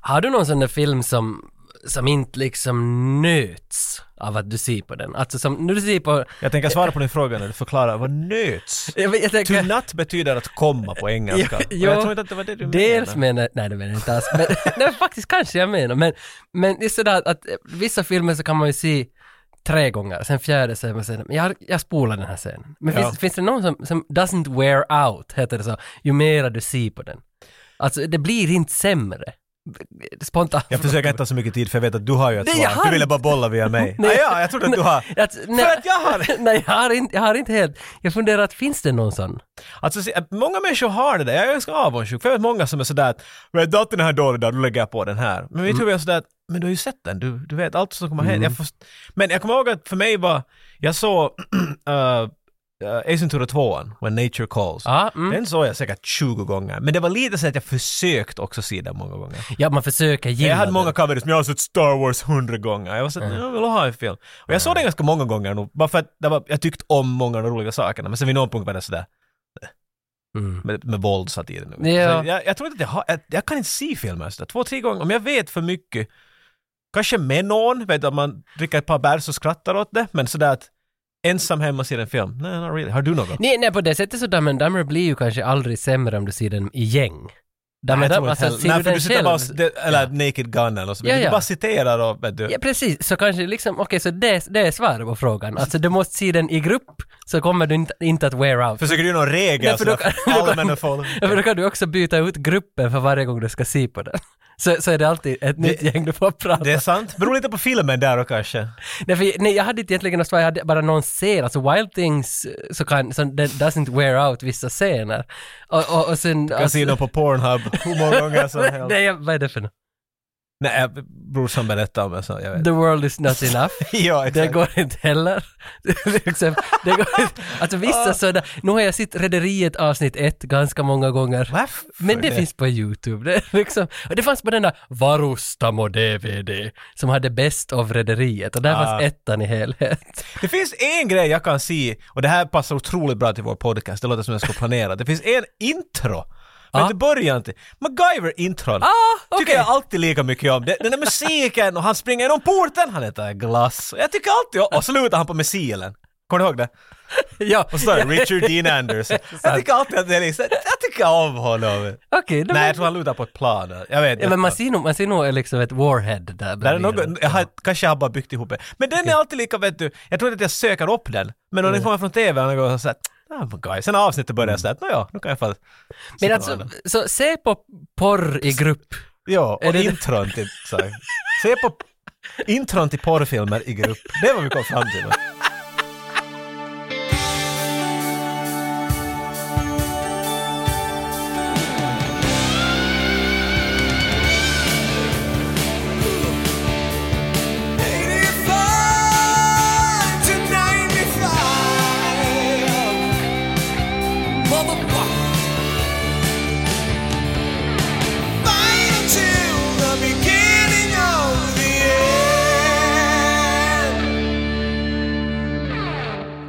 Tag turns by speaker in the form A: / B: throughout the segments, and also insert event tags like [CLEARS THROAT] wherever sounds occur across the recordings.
A: Har du någon sån där film som, som inte liksom nöts av att du ser på den? Alltså som, när du ser på...
B: Jag tänker svara på din fråga när du förklarar vad nöts?
A: Jag, vet- jag
B: To
A: tänker...
B: nut betyder att komma på engelska.
A: Ja,
B: Och
A: ja.
B: jag tror inte att det var det du
A: Dels
B: menade.
A: menar... Nej, det menar jag inte alls.
B: [LAUGHS]
A: Men, nej, faktiskt kanske jag menar. Men, men det är sådär att, att eh, vissa filmer så kan man ju se tre gånger, sen fjärde så är man sådär, men jag, jag spolar den här scenen. Men
B: Ja.
A: finns, finns det någon som, som doesn't wear out, heter det så, ju mera du ser på den? Alltså det blir inte sämre. Spontant.
B: Jag försöker inte ta så mycket tid för jag vet att du har ju ett
A: Nej, jag
B: svar.
A: har
B: Du ville
A: inte-
B: bara bolla via mig.
A: Nej.
B: Nej. Ah, ja, jag trodde att du har.
A: Att, nej,
B: att jag
A: [LAUGHS]
B: har-
A: Nej, jag har, inte, jag har inte helt. Jag funderar att finns det någon sån?
B: Alltså, se, att många människor har det där. Jag är ganska avundsjuk. För jag vet många som är sådär att "Men datorn är här dålig idag, då lägger jag på den här. Men
A: Mm.
B: mitt huvud är sådär att men du har ju sett den, du, du vet allt som kommer hända. Jag först- Men jag kommer ihåg att för mig var, jag såg [CLEARS THROAT] uh, uh, Ace Ventura 2, When Nature Calls.
A: Ja, mm.
B: Den såg jag säkert 20 gånger. Men det var lite så att jag försökt också se den många gånger.
A: ja man försöker gilla
B: Jag hade
A: den.
B: många covers, men jag har sett Star Wars hundra gånger. Jag var så
A: Mm.
B: att, jag vill ha en film. Och jag såg den ganska många gånger nog, bara för att det var, jag tyckte om många av de roliga sakerna. Men sen vid någon punkt var det sådär,
A: Mm.
B: med, med våld satt i den.
A: Ja.
B: Så Jag, jag tror inte att jag har, jag, jag kan inte se filmer sådär två, tre gånger. Om jag vet för mycket, kanske med någon, vet du, om man dricker ett par bärs och skrattar åt det, men sådär att ensam hemma och ser en film, nej, not really. Har du någon?
A: Nej, nej, på det sättet så Dumb and Dumber blir ju kanske aldrig sämre om du ser den i gäng. Dumb
B: Nej,
A: and
B: jag
A: Dumber,
B: tror inte
A: alltså
B: heller-
A: ser du
B: Nej, för
A: den
B: du sitter bara och,
A: själv?
B: det- eller Naked Gun eller så.
A: Ja,
B: Ja,
A: ja.
B: Du bara citerar och vet du.
A: Ja, precis. Så kanske liksom, okej, så det, det är svaret på frågan. Alltså du måste se den i grupp, så kommer du inte, inte att wear out.
B: Försöker du göra någon regel?
A: Nej, för [LAUGHS] då-
B: sådär, Alla män är folk.
A: Ja, för då kan du också byta ut gruppen för varje gång du ska se på den. Så, så är det alltid ett nytt gäng du får prata
B: Det är sant. Beror lite på filmen där och kanske.
A: Nej, för, nej, jag hade inte egentligen något svar, jag hade bara någon scen, alltså Wild Things, eh, så kan, så den doesn't wear out vissa scener. Och, och, och sen...
B: Jag kan se dem på Pornhub hur många gånger som helst.
A: Alltså- [LAUGHS] nej, jag- vad är det för något?
B: Nej, jag- brorsan berättade om det så jag vet.
A: The world is not enough.
B: Ja,
A: Det
B: [LAUGHS] exakt.
A: går inte heller. liksom, det går inte. Alltså
B: Ah.
A: vissa sådana, nu har jag sett Rederiet avsnitt 1 ganska många gånger.
B: Varför
A: Men det, finns på YouTube. Det, är liksom, och det fanns på den där Varustamo DVD som hade Best of Rederiet och där
B: Ah.
A: fanns ettan i helhet. [LAUGHS]
B: det finns en grej jag kan se, och det här passar otroligt bra till vår podcast, det låter som jag ska planera. Det finns en intro.
A: Ja.
B: Men det börjar inte. MacGyver-intron
A: Ah,
B: tycker
A: okej.
B: jag alltid lika mycket om. Det- Den där musiken och han springer genom porten, han äter glass. Jag tycker alltid om- Och slutar han på missilen. Kommer du ihåg det?
A: ja,
B: Och så står det Richard Dean
A: [LAUGHS]
B: Anderson. Jag tycker alltid att det är liksom, jag tycker om honom.
A: okej. då
B: Nej,
A: var-
B: jag tror han lutar på ett plan. Jag vet
A: Ja, men man
B: inte.
A: ser nog, man ser nog liksom ett warhead där
B: Där är
A: bredvid den.
B: något, jag har, kanske jag har bara byggt ihop det. Men den är alltid lika, vet du, jag tror inte att jag söker upp den. Men om
A: Mm.
B: den kommer från TV och går såhär, ah, men guys. Sen när avsnittet börjar såhär, nåja, nu kan jag få...
A: Men alltså, så se på porr i grupp.
B: Ja,
A: är
B: och
A: det-
B: intron till, så här. Se på intron till porrfilmer i grupp. Det var vi kom fram till.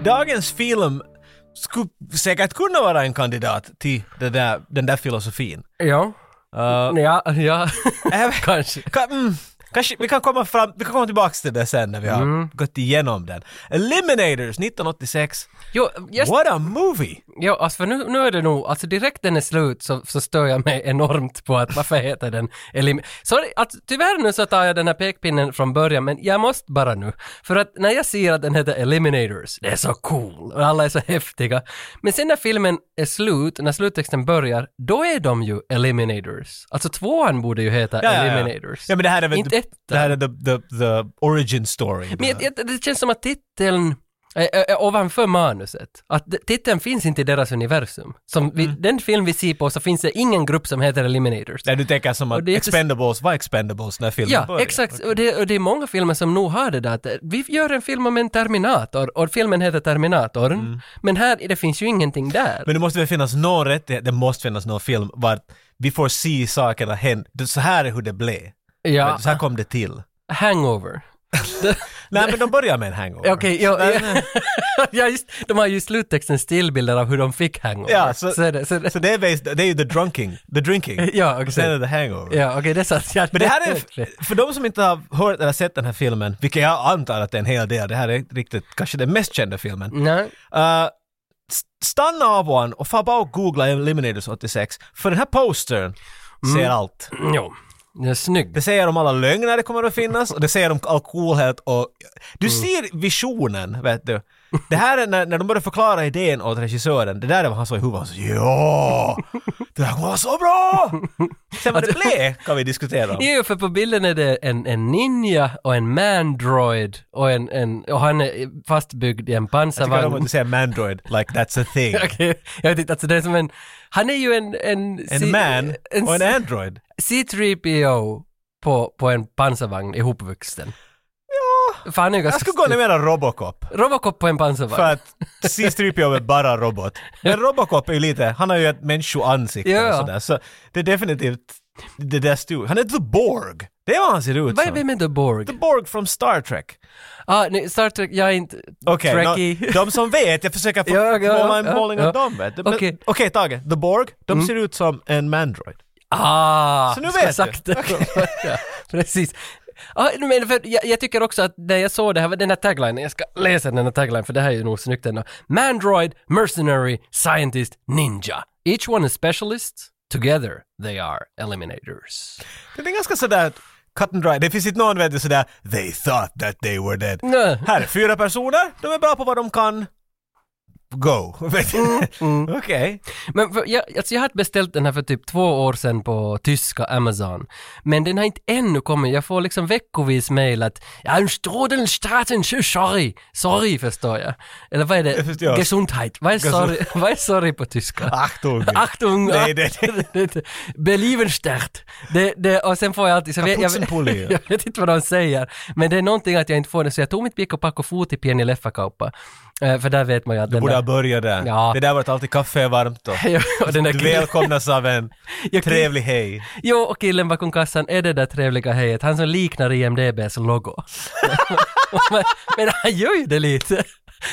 B: Dagens film skulle säkert kunna vara en kandidat till det där, den där filosofin.
A: Ja.
B: Uh,
A: Ja, [LAUGHS] ja.
B: Äh,
A: kanske.
B: Ka- mm, kanske, vi kan komma fram, vi kan komma tillbaks till det sen när vi har
A: Mm.
B: gått igenom den. Eliminators 1986.
A: Jo, just,
B: What a movie!
A: jo alltså för nu, nu är det nog, alltså direkt den är slut så, så stör jag mig enormt på att varför heter den elim... Sorry, alltså, tyvärr nu så tar jag den här pekpinnen från början men jag måste bara nu. För att när jag ser att den heter Eliminators, det är så cool och alla är så häftiga. Men sen när filmen är slut, när sluttexten börjar, då är de ju Eliminators. Alltså tvåan borde ju heta
B: Ja, ja, ja.
A: Eliminators.
B: Ja men det här är väl... typ
A: Inte ettan.
B: det här är the, the, the origin story.
A: Men jag, jag, det känns som att titeln är, är, är ovanför manuset. Att d- titeln finns inte i deras universum. Som vi,
B: Mm.
A: Den film vi ser på så finns det ingen grupp som heter Eliminators.
B: Där du tänker som
A: Och
B: att
A: det är inte-
B: Expendables var Expendables när filmen
A: Ja,
B: började.
A: exakt. Och det, och det är många filmer som nog har det där att eh, vi gör en film om en Terminator och filmen heter Terminatorn. Men här, det finns ju ingenting där.
B: Mm. Men det måste väl finnas någon rättighet, det måste finnas någon film vart vi får se sakerna hända. Så här är hur det blev.
A: ja,
B: Så här kom det till.
A: Hangover.
B: Nej, men de börjar med en hangover.
A: Okej, ja, ja, [LAUGHS] ja, just, de har ju i sluttexten stillbilder av hur de fick hangover.
B: Ja, så,
A: så är det, så är det,
B: så det, är based, det är ju the drunking, the drinking.
A: [LAUGHS] Ja,
B: Och
A: okej.
B: Sen är det the hangover.
A: ja, okej, det är sant. Ja,
B: Men det här
A: verkligen.
B: är, för de som inte har hört eller sett den här filmen, vilket jag antar att det är en hel del, det här är riktigt, kanske den mest kända filmen.
A: Nej,
B: Uh, st- stanna av one och få bara och googla Eliminators 86, för den här postern
A: Mm.
B: ser allt.
A: jo. Den är snygg.
B: Det säger om alla lögner det kommer att finnas och det säger om all coolhet och... Du
A: Mm.
B: ser visionen, vet du. Det här är när, när de börjar förklara idén åt regissören, det där är vad han sa i huvudet. Han sa ja! Det här kommer vara så bra! Sen vad det
A: Alltså-
B: blev kan vi diskutera om.
A: Jo, för på bilden är det en, en ninja och en mandroid och, en, en, och han är fastbyggd i en
B: Jag tycker om att
A: pansarvagn.
B: du säger mandroid, like that's a thing.
A: [LAUGHS] Okej, jag vet inte, alltså det är som en... Han är ju en... En,
B: En man
A: en
B: och en android.
A: C3PO på, på en pansarvagn ihopvuxen. Ja. Fan, han är ju
B: Jag
A: ganska...
B: skulle gå ner mera Robocop.
A: Robocop på en pansarvagn.
B: För att C-3PO är bara robot. Men Robocop är ju lite, han har ju ett människoansikte
A: Ja.
B: och sådär. Så det är definitivt det där stod. Han är The Borg. Det är vad han ser ut
A: Vad är
B: som.
A: vi med The Borg?
B: The Borg från Star Trek.
A: Ah, nej, Star Trek, jag är inte...
B: Okej,
A: Trekkie.
B: nå- [LAUGHS] de som vet, jag försöker få
A: Ja, ja,
B: måla en
A: ja,
B: målning
A: ja.
B: av dem. vet du. Men- Okej
A: Okej. Mm.
B: Tage, The Borg, de ser ut som en mandroid.
A: Ah,
B: Så nu
A: jag
B: vet
A: ska
B: du.
A: sagt det. [LAUGHS] ja, precis. Ah, men för jag, jag tycker också att när jag såg det här, den här taglinen, jag ska läsa den här taglinen för det här är ju nog snyggt ändå. Mandroid, Mercenary, Scientist, Ninja. Each one is specialist, together they are eliminators.
B: Det är ganska sådär cut and dry. Det finns inte någon vet du sådär “They thought that they were dead”.
A: Nö.
B: Här är fyra personer, de är bra på vad de kan. Go! [LAUGHS] Vet du?
A: Mm,
B: Okej.
A: Men för, jag, alltså jag hade beställt den här för typ två år sedan på tyska Amazon. Men den har inte ännu kommit. Jag får liksom veckovis mejl att ja, en Strodelstraten, sorry. Sorry förstår jag. Eller vad är det?
B: Jag förstår.
A: Gesundheit. Vad är, sorry, [LAUGHS] vad är sorry på tyska?
B: Achtung!
A: Achtung!
B: Nej, det-
A: [LAUGHS] Beliven stärkt. Det, det, och sen får jag alltid... Så jag, jag,
B: Kapuzenpulli.
A: [LAUGHS] jag vet inte vad de säger. Men det är någonting att jag inte får det, så jag tog mitt pick och pack och for till Pieni Leffakauppa. Eh, för där vet man ju att den
B: Borde
A: [LAUGHS]
B: ha
A: där...
B: börjat där.
A: Ja.
B: Det där var att alltid kaffe är varmt och
A: och den där
B: du välkomnas av en
A: [LAUGHS] Jag kan-
B: trevlig hej.
A: Jo, och killen bakom kassan är det där trevliga hejet, han som liknar IMDBs logo. [LAUGHS] men, men han gör ju det lite.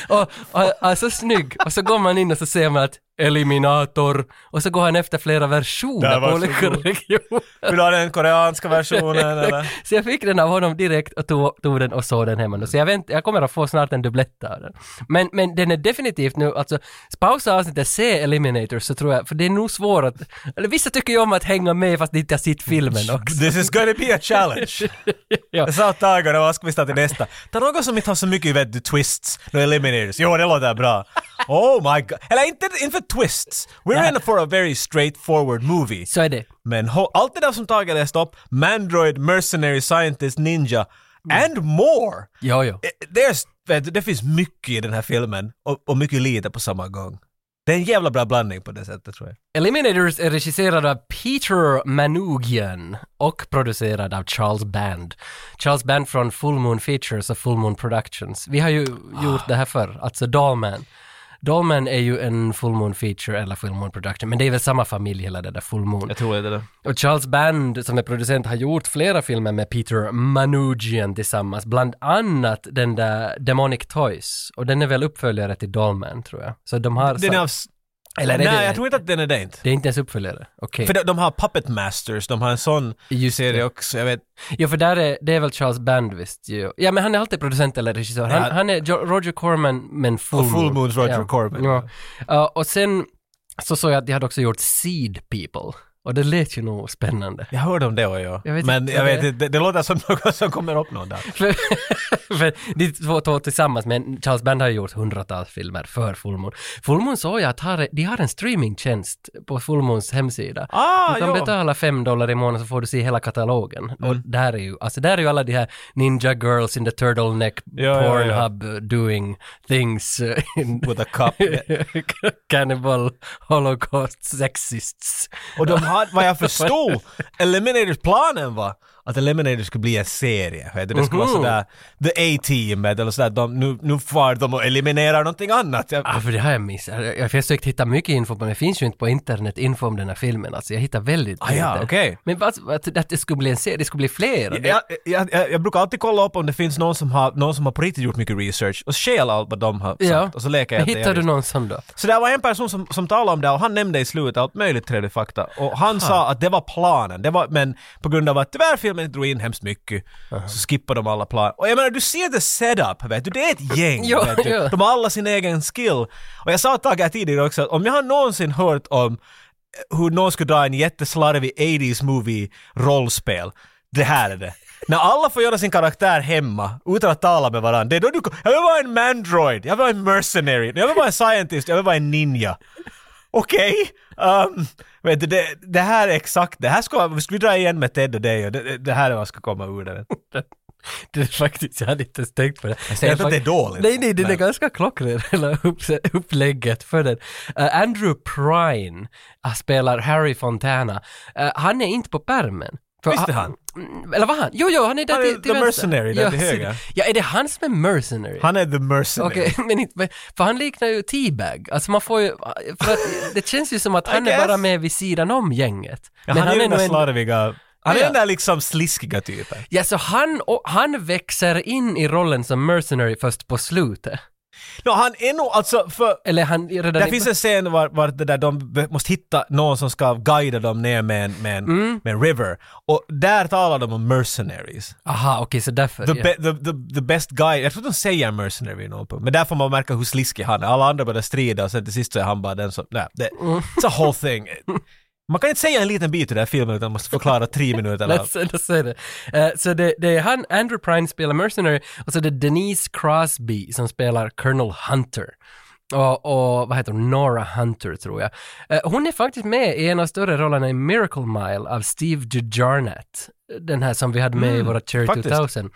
A: Och, och, och så snygg. Och så går man in och så ser man att Eliminator. Och så går han efter flera
B: Det här
A: versioner
B: var
A: på
B: så
A: olika
B: god.
A: regioner.
B: Vill du ha den koreanska
A: [LAUGHS]
B: versionen eller?
A: Så jag fick den av honom direkt och tog, tog den och såg den hemma nu. Så jag, vänt, jag kommer att få snart en dubblett av den. Men, men den är definitivt nu, alltså pausa avsnittet se Eliminator så tror jag, för det är nog svårt att, eller vissa tycker ju om att hänga med fast de inte har sett filmen också.
B: This is gonna be a challenge.
A: Ja.
B: Jag sa åt Tage, och vad ska vi starta till nästa? Ta något som inte har så mycket vet du, twists, no eliminators. Jo, det låter bra. Oh my god. Eller inte inför twists. We're in for a very straightforward movie.
A: Så är det.
B: Men ho- allt det där som Tage läste upp, Mandroid, Mercenary, Scientist, Ninja,
A: Mm.
B: and more.
A: Jo, jo.
B: Eh, There's, vet du, det finns mycket i den här filmen och, och mycket lite på samma gång. Det är en jävla bra blandning på det sättet tror jag.
A: Eliminators är regisserad av Peter Manoogian och producerad av Charles Band. Charles Band från Full Moon Features och Full Moon Productions. Vi har ju
B: Ah.
A: gjort det här förr, alltså Dalman. Dalman är ju en Full Moon Feature eller Full Moon Production, men det är väl samma familj hela det där Full Moon.
B: tror det.
A: Och Charles Band som är producent har gjort flera filmer med Peter Manoogian tillsammans, bland annat den där Demonic Toys. Och den är väl uppföljare till Dalman tror jag. Så de har...
B: Den är
A: sa-
B: av...
A: Eller är det
B: Nej,
A: det?
B: jag tror inte att den är det inte.
A: Det är inte ens uppföljare? Okej.
B: För de, de har Puppet Masters, de har en sån
A: Just
B: serie
A: det.
B: också. Jag vet,
A: Ja, för där är, det är väl Charles Band visst ju. Ja, men han är alltid producent eller regissör. Han,
B: Ja.
A: han är Jo- Roger Corman, men full,
B: Och Full Moons Roger
A: ja.
B: Corman.
A: Ja. Ja, och sen så såg jag att de hade också gjort Seed People. Och det lät ju nog spännande.
B: jag hörde om det och jag.
A: Jag vet
B: Men
A: inte
B: jag
A: vad det
B: vet
A: är.
B: inte, det, det låter som [LAUGHS] något som kommer upp någon dag.
A: för, [LAUGHS] för de två, två tillsammans, men Charles Band har ju gjort hundratals filmer för Full Moon. Full Moon såg jag att har, de har en streamingtjänst på Full Moons hemsida.
B: Ah,
A: du kan [LAUGHS]
B: ja.
A: betala fem dollar i månaden så får du se hela katalogen. Och
B: Mm.
A: där är ju, alltså där är ju alla de här Ninja Girls in the Turtleneck,
B: Ja, ja, ja.
A: Pornhub uh, doing things uh, in [LAUGHS]
B: With a cup.
A: cannibal holocaust sexists.
B: Och de har, vad jag förstod, Eliminators planen var att Eliminator skulle bli en serie. Vet du? Det skulle
A: Mhm.
B: vara sådär The A-Team eller sådär, de, nu, nu far de och eliminerar någonting annat. Jag,
A: Ah, för det har jag missat. Jag jag har försökt hitta mycket info, men det finns ju inte på internet info om den här filmen. Alltså jag hittar väldigt
B: Ah, ja,
A: lite.
B: okej.
A: Men vad, att, att det skulle bli en serie, det skulle bli flera.
B: jag, jag, jag, jag brukar alltid kolla upp om det finns någon som har, någon som har på riktigt gjort mycket research och stjäl allt vad de har sagt.
A: Ja.
B: Och så leker jag
A: Men
B: att det är
A: hittar du
B: just-
A: någon sån då?
B: Så det var en person som, som talade om det och han nämnde i slutet allt möjligt trevlig fakta. Och han sa att det var planen. Det var, men på grund av att tyvärr filmen drog in hemskt mycket så skippade de alla planer. Och jag menar, du ser the setup, vet du. Det är ett gäng.
A: Ja,
B: vet du.
A: ja.
B: De har alla sin egen skill. Och jag sa ett tag här tidigare också att om jag har någonsin hört om eh, hur någon skulle dra en jätteslarvig 80s movie rollspel. Det här är det. När alla får göra sin karaktär hemma utan att tala med varandra. Det är då du Jag vill vara en mandroid, jag vill vara en mercenary, jag vill vara en scientist, jag vill vara en ninja. Okej? ehm, vet du, det, det här är exakt det. Här ska, vi skulle dra igen med Ted och dig och det, det här är vad ska komma ur det.
A: Det är faktiskt, jag hade inte ens tänkt på det. Jag
B: säger inte att det är dåligt.
A: Nej, nej, det är
B: Men-
A: ganska klockren, [LAUGHS] hela upp- upplägget för den. Eh, Andrew Prine eh, spelar Harry Fontana. Eh, han är inte på pärmen. För
B: Visst är
A: Mm, Eller var han? Jo, jo, han är där
B: Han är
A: till, till
B: the
A: vänster.
B: mercenary där
A: Ja,
B: till
A: så-
B: höger.
A: Ja, är det han som är mercenary?
B: Han är the mercenary.
A: Okej, [LAUGHS] men inte, men- för han liknar ju T-bag. Alltså man får ju, för att det känns ju som att
B: [LAUGHS] I
A: han är bara
B: guess.
A: med vid sidan om gänget.
B: Ja, han, är ju
A: nog
B: den där slarviga... Han är
A: Ja.
B: den där liksom sliskiga typen.
A: Ja, så han, och, han växer in i rollen som mercenary först på slutet.
B: No, han är nog alltså, för
A: Eller han är redan...
B: Det finns en scen var, var det där de be- måste hitta någon som ska guida dem ner med en, med en, med en river. Och där talar de om mercenaries.
A: Aha, okej, så därför.
B: The,
A: ja.
B: be, the, the, the best guy, jag tror de säger mercenary i någon punkt, men där får man märka hur sliskig han är. Alla andra börjar strida och sen till sist så är han bara den som, nej, det, it's a whole thing. Man kan inte säga en liten bit i den här filmen utan måste förklara tre [LAUGHS] minuter. eller-
A: Let's, [LAUGHS] let's say det. Eh, så det, det är han, Andrew Prine spelar Mercenary och så det är Denise Crosby som spelar Colonel Hunter. Och, och vad heter hon? Nora Hunter tror jag. Eh, hon är faktiskt med i en av större rollerna i Miracle Mile av Steve DeJarnett. Den här som vi hade med i våra Cherry
B: Mm, faktiskt.
A: 2000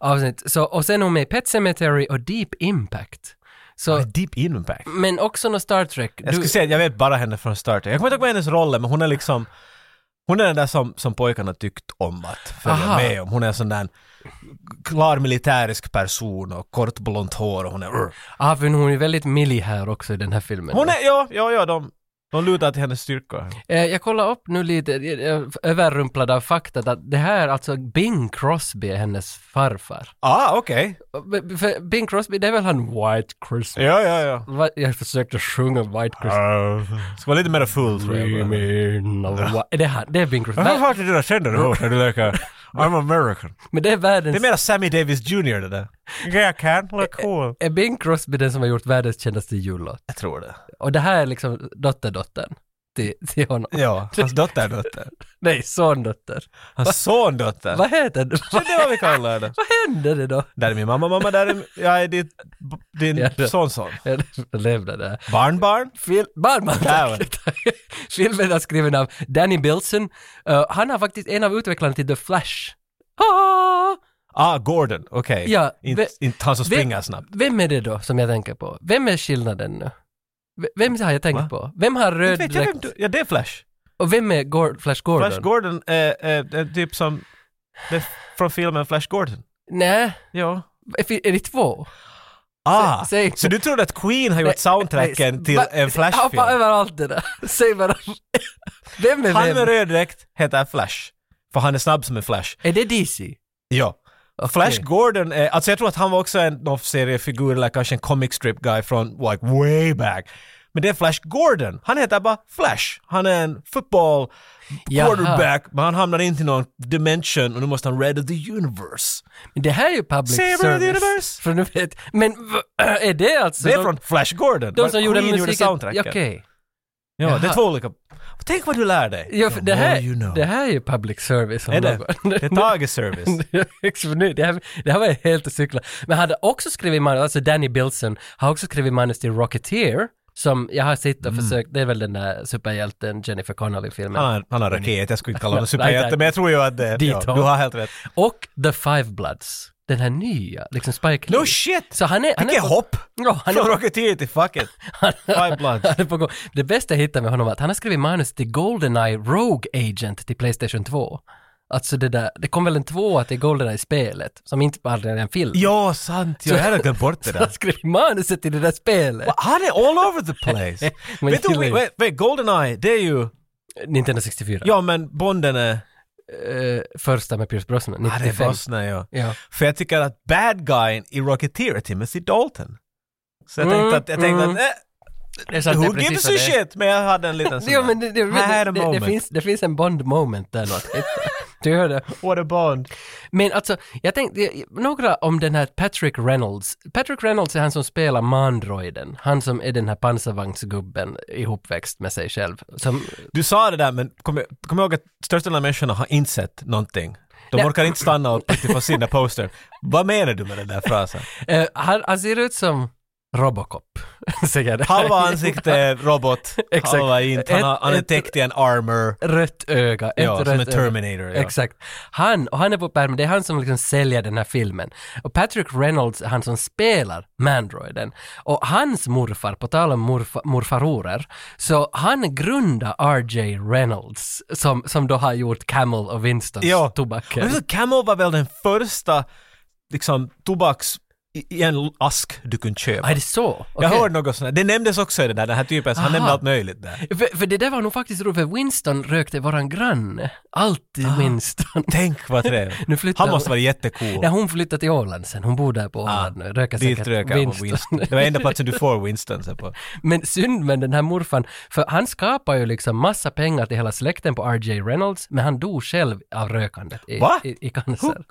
A: avsnitt. Så, och sen är hon med i Pet Sematary och Deep Impact. Så,
B: Deep impact.
A: men också någon Star Trek.
B: Jag skulle säga att jag vet bara henne från Star Trek. Jag kommer inte ihåg vad hennes roll är, men hon är liksom hon är den där som, som pojkarna tyckt om att följa
A: Aha.
B: med om. Hon är en sån där klar militärisk person och kort blont hår och hon är... Urr.
A: ah, för hon är väldigt milli här också i den här filmen.
B: Hon är, ja, ja, ja, de, de lutar till hennes styrkor.
A: Eh, Jag kollar upp nu lite, jag är överrumplad av faktat att det här, alltså Bing Crosby är hennes farfar.
B: Ah, okej.
A: B- För Bing Crosby, det är väl han White Christmas?
B: Ja, ja, ja.
A: Va- Jag försökte sjunga White Christmas.
B: Uh, ska vara lite mer full, tror jag.
A: Dreaming of whi- Är det han? Det är Bing Crosby.
B: Varför
A: Va-
B: har du dina tänder i håret när du leker I'm American?
A: Men det är världens...
B: Det är mera Sammy Davis Jr det där. Jag kan, look cool.
A: Är Bing Crosby den som har gjort världens kändaste jullåt?
B: Jag tror det.
A: Och det här är liksom dotterdottern till, till honom.
B: Ja, hans dotter är dotter.
A: Nej, sondotter.
B: Hans sondotter.
A: Vad heter det?
B: Så det var vi kallar det.
A: Vad hände det då?
B: Där är min mamma, mamma, där är jag är ditt,
A: Ja,
B: din
A: det-
B: sonson.
A: Jag [LAUGHS] lämnar det här.
B: Barnbarn?
A: Phil Barman,
B: Där
A: tack. [LAUGHS] Filmen är skriven av Danny Bilson. Eh, han har faktiskt en av utvecklarna till The Flash. Ah!
B: Ah, Gordon, okej.
A: Ja,
B: inte
A: ve-
B: inte han som
A: ve-
B: springer snabbt.
A: Vem är det då som jag tänker på? Vem är skillnaden nu? V- Vem har jag tänkt
B: Va?
A: på? Vem har röd
B: Vet jag vem
A: dräkt?
B: du, ja, det är Flash.
A: Och vem är Gor- Flash Gordon?
B: Flash Gordon är, är, är typ som, det är från filmen Flash Gordon.
A: Nej,
B: Ja.
A: är det två?
B: Ah,
A: Säg- säg-
B: så du trodde att Queen har
A: Nej,
B: gjort soundtracken
A: nej,
B: till
A: va-
B: en
A: Hoppa
B: Flash-film?
A: över allt det där. [LAUGHS] Säg bara. Vem är
B: Han med
A: vem?
B: röd dräkt heter Flash. För han är snabb som en Flash.
A: Är det DC?
B: Ja. Flash Gordon, är, alltså jag tror att han var också en någon seriefigur eller kanske en comic strip guy från like way back. Men det är Flash Gordon. Han heter bara Flash. Han är en football
A: Jaha.
B: quarterback, men han hamnar inte i någon dimension och nu måste han rädda the universe.
A: Men det här är ju public
B: Saber of the
A: service.
B: universe.
A: För nu vet, men v- är det alltså...
B: det är
A: de-
B: från Flash Gordon.
A: De
B: men
A: som gjorde
B: Queen
A: musiken,
B: soundtracken.
A: Ja, okej.
B: Ja, det är
A: Jaha.
B: två olika. Tänk vad du lär dig.
A: Ja, för
B: The
A: det,
B: more
A: här,
B: you know.
A: det här är ju public service. om [LAUGHS]
B: Är det?
A: något.
B: Det är Tages service.
A: Liksom nu, det, här, det här var ju helt att cykla. Men han hade också skrivit manus, alltså Danny Bilson har också skrivit manus till Rocketeer, som jag har sett och
B: Mm.
A: försökt, det är väl den där superhjälten Jennifer Connelly-filmen.
B: Han har, han har raket, jag skulle inte kalla honom
A: [LAUGHS] Nej, nej.
B: superhjälte, men jag tror ju att det, ja,
A: Dit
B: du
A: har-
B: har helt rätt.
A: Och The Five Bloods, den här nya, liksom Spike
B: No
A: Lee.
B: shit!
A: Så han är... Han är
B: Vilket
A: på-
B: hopp!
A: Ja, han är
B: Från Rocketeer till Fuck It. Five Bloods.
A: Han är på gång. Det bästa jag hittade med honom var att han har skrivit manus till Goldeneye Rogue Agent till Playstation 2. Alltså det där, det kom väl en tvåa till Goldeneye-spelet, som inte var en film.
B: Ja, sant. Jag hade glömt bort det
A: Så han
B: där.
A: skrev manuset till det där spelet.
B: Va, [LAUGHS] Han är all over the place.
A: [LAUGHS] Men
B: vet du,
A: gillar ju-
B: wait, wait, Goldeneye, det är ju...
A: Nintendo 64.
B: Ja, men Bonden är...
A: Eh, första med Pierce Brosnan,
B: Ja, det är
A: 95.
B: Bosna, ja.
A: ja.
B: För jag tycker att bad guyen i Rocketeer är Timothy Dalton. Så jag
A: Mm,
B: tänkte att, jag tänkte
A: mm.
B: att, eh,
A: Det är sant, det är
B: who
A: precis
B: gives
A: vad
B: a
A: det är.
B: shit? Men jag hade en
A: [LAUGHS]
B: liten sån
A: Jo,
B: där,
A: men det, det,
B: I had a
A: det, det,
B: moment.
A: det, finns, det finns en Bond-moment där något. [LAUGHS] du hör det.
B: What a bond.
A: Men alltså, jag tänkte, eh, några om den här Patrick Reynolds. Patrick Reynolds är han som spelar Mandroiden. Han som är den här pansarvagnsgubben ihopväxt med sig själv. Som,
B: Du sa det där, men kom, kom ihåg att största delen av människorna har inte sett någonting. De
A: Nej.
B: orkar inte stanna och titta på sina poster. Vad menar du med den där frasen?
A: eh, han, han ser ut som Robocop, [LAUGHS] säger det.
B: Halva ansikte är robot,
A: [LAUGHS] Exakt.
B: halva inte. Han, har, han är
A: Ett-
B: täckt i en armor.
A: Rött öga. ett
B: Ja, som
A: rött
B: en
A: öga.
B: Terminator. Ja.
A: Exakt. Han, och han är på pärmen, det är han som liksom säljer den här filmen. Och Patrick Reynolds, är han som spelar Mandroiden. Och hans morfar, på tal om morfa, morfarorer, så han grundade R.J. Reynolds, som, som då har gjort Camel och Winstons
B: Ja.
A: tobaker.
B: Men så Camel var väl den första liksom, tobaks i i en ask du kunde köpa.
A: Ah, är det så?
B: Jag
A: Okej.
B: hörde något sånt här. Det nämndes också i det där, den här typen, så han
A: Aha.
B: nämnde allt möjligt där.
A: För, för det där var nog faktiskt roligt, för Winston rökte våran granne. Alltid
B: Ah. [LAUGHS]
A: Winston.
B: Tänk vad
A: [LAUGHS]
B: trevligt.
A: Nu flyttar
B: Han måste vara jättecool.
A: Nej, hon flyttade till Åland sen, hon bor där på Åland nu, röker
B: Ah, Dit
A: säkert
B: röker han på Winston. Det var enda platsen du får Winston sen på.
A: Men synd med den här morfan, för han skapar ju liksom massa pengar till hela släkten på R.J. Reynolds, men han dog själv av rökandet i,
B: Va?
A: i, i cancer.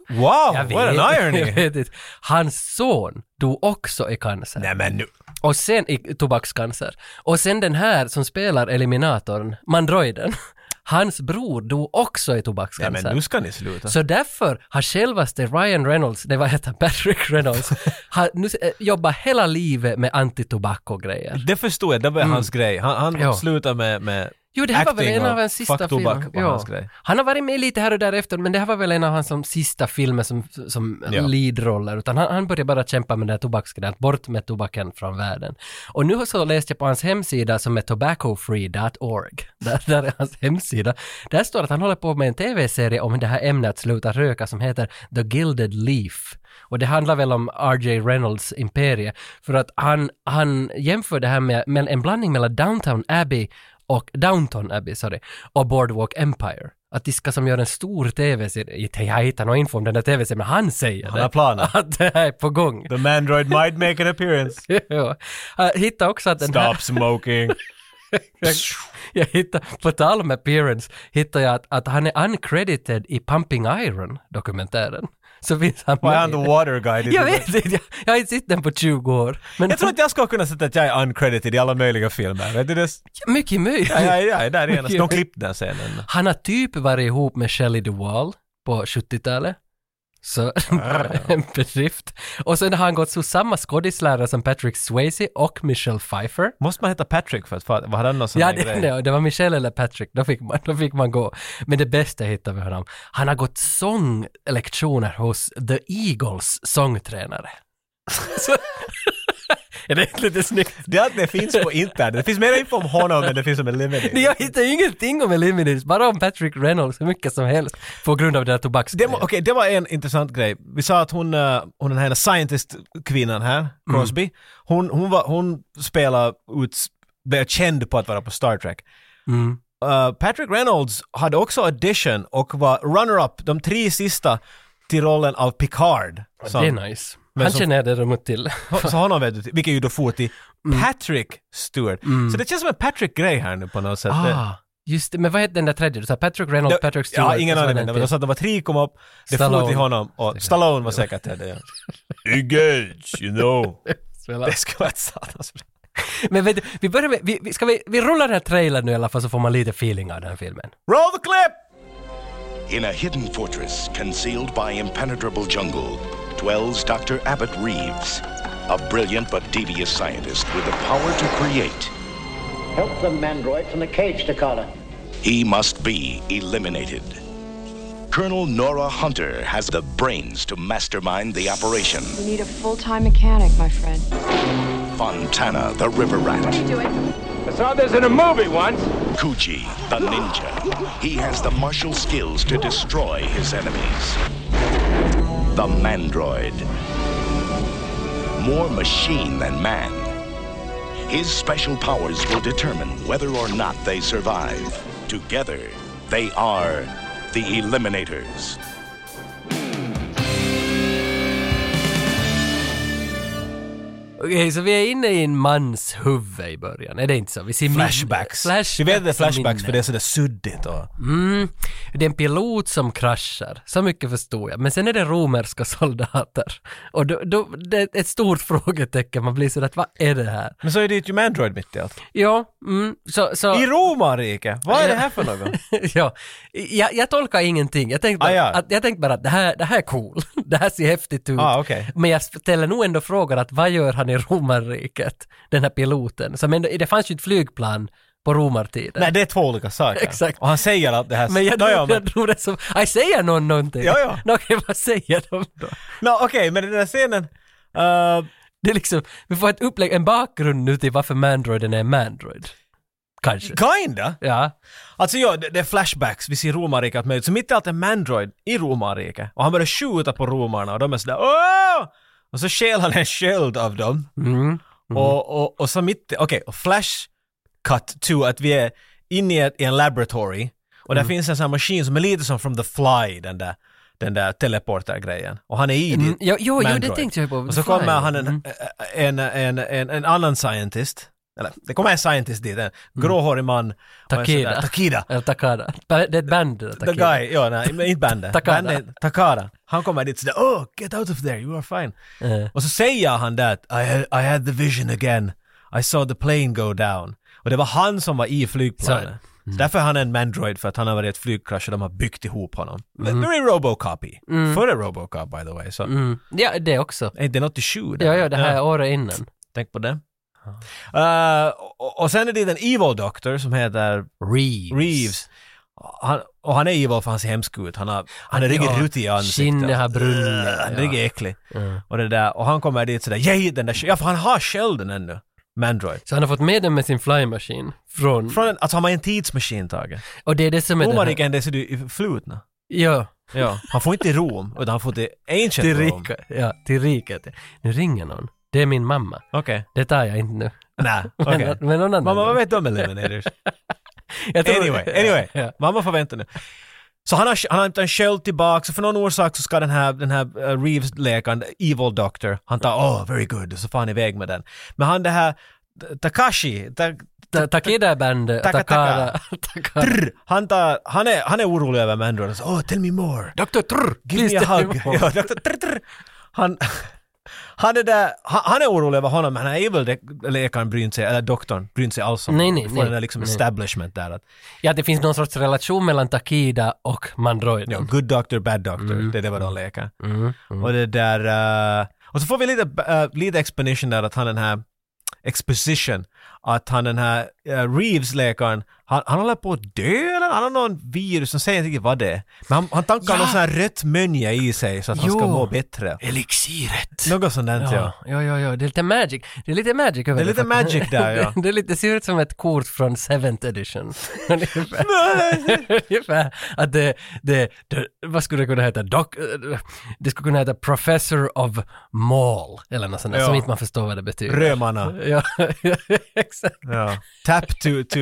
A: Jag
B: Wow, what an
A: vet- [LAUGHS] jag
B: irony!
A: vet inte. Hans son dog också i cancer.
B: Nej men nu.
A: Och sen i tobakscancer. Och sen den här som spelar Eliminatorn, Mandroiden, [LAUGHS] hans bror dog också i
B: Nej
A: tobakscancer.
B: men nu ska ni sluta.
A: Så därför har självaste Ryan Reynolds, det var heter [LAUGHS] Patrick
B: [LAUGHS]
A: Reynolds, har nu eh, jobbat hela livet med antitobak och grejer.
B: Det förstod jag, det var hans grej. Han, han
A: Mm. Ja.
B: slutade med, med
A: Jo, det här var väl
B: acting
A: en av
B: och
A: hans sista
B: fuck tobak
A: filmer.
B: var hans grej.
A: Han har varit med lite här och där efter, men det här var väl en av hans som, sista filmer som, som
B: Ja.
A: leadroller, utan han, han började bara kämpa med den här tobaksgrejen, att bort med tobaken från världen. Och nu så läste jag på hans hemsida som är tobaccofree.org, där, där är hans hemsida, där står att han håller på med en tv-serie om det här ämnet att sluta röka som heter The Gilded Leaf. Och det handlar väl om R.J. Reynolds imperie, för att han, han jämför det här med, med en blandning mellan Downtown Abbey och Downton Abbey, sorry, och Boardwalk Empire. Att de ska som gör en stor tv-serie, inte jag hittar någon info om den där tv-serien, men han säger
B: Han
A: det.
B: har planer.
A: [LAUGHS] Att det här är på gång. [LAUGHS]
B: [LAUGHS] The Mandroid might make an appearance.
A: ja. Jag hittade också att [LAUGHS] den här...
B: Stop smoking.
A: Jag, [LAUGHS] jag hittade, på tal om appearance, hittade jag att, att han är uncredited i Pumping Iron-dokumentären. Så finns han
B: Why I'm the
A: i-
B: water guy?
A: Jag vet inte, jag, jag har inte sett den på 20 år. Men
B: Jag tror att jag skulle kunna sätta att jag är uncredited i alla möjliga filmer. Vet du det?
A: mycket möjligt.
B: Ja, ja, ja, där är en.
A: Mycket.
B: De klippte den scenen.
A: Han har typ varit ihop med Shelley Duvall på 70-talet. Så
B: Ah.
A: [LAUGHS] en bedrift. Och sen har han gått hos samma skådislärare som Patrick Swayze och Michelle Pfeiffer.
B: Måste man heta Patrick för att få... Vad hade han någon sån
A: Ja,
B: här
A: det, det, det var Michelle eller Patrick, då fick, man, då fick man gå. Men det bästa jag hittade med honom, han har gått sånglektioner hos The Eagles sångtränare. Så, [LAUGHS] är det inte lite snyggt?
B: Det är att det finns på internet. Det finns mer info om honom än det finns om Eliminator.
A: Jag hittar ingenting om Eliminators, bara om Patrick Reynolds, hur mycket som helst, på grund av det här
B: Det,
A: tobaksgrejen.
B: var- okej, det var en intressant grej. Vi sa att hon, eh, hon den här scientist-kvinnan
A: Mm.
B: här, Crosby, hon, hon, var, hon spelar ut, blev känd på att vara på Star Trek.
A: Mm.
B: Eh, Patrick Reynolds hade också audition och var runner-up de tre sista till rollen av Picard.
A: Det är
B: Som,
A: nice.
B: Men
A: han
B: som- Ah.
A: känner jag däremot till.
B: så honom vet du, till, vilket ju då for till
A: Mm.
B: Patrick Stewart. Så det känns som en Patrick-grej här nu på något sätt. Det-
A: Ah, just det. Men vad hette den där tredje? Du sa Patrick Reynolds,
B: Det-
A: Patrick Stewart.
B: Ja, ingen
A: och så
B: aning.
A: var
B: Men
A: det
B: de
A: en
B: sa att det var tre kom upp, det for
A: Stallone.
B: till honom och Stallone var säkert det. ja. Engage, you know.
A: till.
B: [LAUGHS] Det ska vara ett satans bra.
A: Men vet du, vi börjar med, vi, vi, ska vi, vi rullar den här trailern nu i alla fall så får man lite feeling av den här filmen.
B: Roll the clip!
C: In a hidden fortress concealed by impenetrable jungle dwells Dr. Abbott Reeves, a brilliant but devious scientist with the power to create.
D: Help the mandroid from the cage, Takala.
C: He must be eliminated. Colonel Nora Hunter has the brains to mastermind the operation.
E: You need a full-time mechanic, my friend.
C: Fontana, the river rat,
E: What are you doing?
F: I saw this in a movie once.
C: Kuji, the ninja. He has the martial skills to destroy his enemies. The Mandroid. More machine than man. His special powers will determine whether or not they survive. Together, they are the Eliminators.
A: Okej, så vi är inne i en mans huvud i början, är det inte så? Vi ser min-
B: Flashbacks.
A: Flashbacks
B: Vi vet att det är flashbacks
A: minne. Mm.
B: för det är sådär suddigt och...
A: Det är en pilot som kraschar, så mycket förstod jag. Men sen är det romerska [LAUGHS] soldater. Och då, då, det är ett stort [LAUGHS] frågetecken, man blir sådär att vad är det här?
B: Men så är det ju Mandroid mitt i allt.
A: Ja, mm, så... så
B: I romarriket! Vad är det här för något?
A: [LAUGHS] ja, jag, jag tolkar ingenting. Jag tänkte bara,
B: Ah, ja.
A: att, jag tänkte bara att det här, det här är cool. [LAUGHS] Det här ser häftigt ut.
B: Ah, okej.
A: Men jag ställer nog ändå frågan att vad gör han i romarriket? Den här piloten. Som ändå, det fanns ju ett flygplan på romartiden.
B: Nej, det är två olika saker.
A: Exakt.
B: Och han säger allt det här.
A: men jag,
B: Nå, ja,
A: tror- jag tror det som... Aj, säger någon någonting?
B: Ja, ja.
A: [LAUGHS] Nå, Okej, vad säger de då?
B: Nå, okej, men den där scenen... eh,
A: Det är liksom, vi får ett upplägg, en bakgrund nu till varför Mandroiden är Mandroid. Kanske.
B: kinda!
A: Ja.
B: Alltså ja, det, det är flashbacks, vi ser romarriket med ut. Så mitt i allt är Mandroid i romarriket. Och han börjar skjuta på romarna och de är sådär åh! Och så stjäl han en sköld av dem.
A: Mm.
B: Och, och, och så mitt i- okej, och flash cut to att vi är inne i, ett, i en laboratory. Och
A: Mm.
B: där finns en sån här maskin som är lite som from the fly, den där, den där teleportergrejen. Och han är i
A: Mm,
B: dit.
A: jo, jo, jo, det
B: Mandroid.
A: tänkte jag på.
B: Och så
A: The Fly,
B: kommer han en,
A: mm.
B: en, en, en, en annan scientist. Eller, det kommer en scientist dit, en gråhårig man. och en sån där-
A: Mm. Takeda.
B: Takida.
A: Eller Takada. Ba- Det är ett band, det där,
B: The
A: Takeda.
B: guy, ja, nej, men inte
A: [LAUGHS]
B: bandet.
A: Takada.
B: Bandet, Takara. Han kommer dit sådär ”Oh, get out of there, you are fine”.
A: Eh.
B: Och så säger han det att, I had, ”I had the vision again, I saw the plane go down”. Och det var han som var i flygplanet.
A: Så- Mm.
B: Så därför är han en mandroid, för att han har varit i ett flygkrasch och de har byggt ihop honom. Very Robocopy. Före Robocop by the way, så
A: Mm. Ja, det också.
B: är det något i sju där?
A: Ja, ja, det här är året innan.
B: Tänk på det. Eh, och, och sen är det den evil doctor som heter
A: Reeves.
B: Reeves. Han, och han är evil för han ser hemsk ut. Han, har, han är
A: Ja,
B: riktigt rutig i ansiktet.
A: skinnet har brunnit,
B: Ugh, Han
A: ja.
B: är riktigt äcklig.
A: Mm.
B: Och, det där, och han kommer dit sådär, yay den där skö-" Ja, för han har skölden ännu. Mandroid.
A: Så han har fått med den med sin flymaskin från...
B: Från en, alltså har man en tidsmaskin taget.
A: Och det är det som är det här.
B: Romarriken, det ser du i flutna.
A: Ja,
B: Ja. Han får inte i Rom, utan han får till ancient
A: till
B: Rom.
A: rika. Ja, till riket. Nu ringer någon. Det är min mamma.
B: Okej.
A: Det tar jag inte nu.
B: Nej,
A: [LAUGHS] Men,
B: okej.
A: men någon annan.
B: Mamma, vad vet du om Eliminators?
A: Jag tror-
B: Anyway, anyway.
A: [LAUGHS] Ja.
B: Mamma får vänta nu. Så han har, han har inte en sköld tillbaka, så för någon orsak så ska den här, den här eh, Reeves-läkaren, Evil Doctor, han tar oh, very good, och så får han iväg med den. Men han det här T- Takashi, ta,
A: Ta- Takeda är bandet,
B: Taka,
A: Takara... [LAUGHS] Takara.
B: trr, han, tar, han, är, han är orolig över Mandroid och så oh, tell me more.
A: Dr. Trr!
B: Give me a hug. [LAUGHS] Ja, Dr. Trr, trr. Han, [LAUGHS] han, är där, han, han är orolig över honom, men han är väl det- läkaren bryr inte sig, eller doktorn bryr inte sig alls om
A: Nej,
B: honom.
A: nej,
B: Vi får
A: nej,
B: den där liksom
A: nej.
B: establishment där. Att,
A: Ja, det finns någon sorts relation mellan Takida och
B: Ja,
A: Mandroiden.
B: good doctor, bad doctor.
A: Mm.
B: Det är det vad de leker. Och det där... eh, och så får vi lite, uh, lite explanation där att han den här... Exposition. Att han den här eh, Reeves-läkaren, han, han håller på att dö eller han har någon virus som säger inte riktigt vad det är. Men han, han tankar
A: Ja.
B: någon sån här rött mönja i sig så att han ska
A: Jo.
B: må bättre.
A: Elixiret!
B: Något sånt där,
A: Ja,
B: ja.
A: ja, ja, ja, det är lite magic. Det är lite magic över
B: Det är lite
A: faktiskt.
B: magic där, ja.
A: [LAUGHS] det, är lite, det ser ut som ett kort från 7th
B: [LAUGHS]
A: edition. Ungefär. [LAUGHS] Ungefär. Att det, det, det, vad skulle det kunna heta? Doc, eh, det skulle kunna heta Professor of Maul, eller något sånt där,
B: Ja.
A: som inte man förstår vad det betyder.
B: Römarna.
A: Ja, [LAUGHS] exakt.
B: Ja. Tap to, to...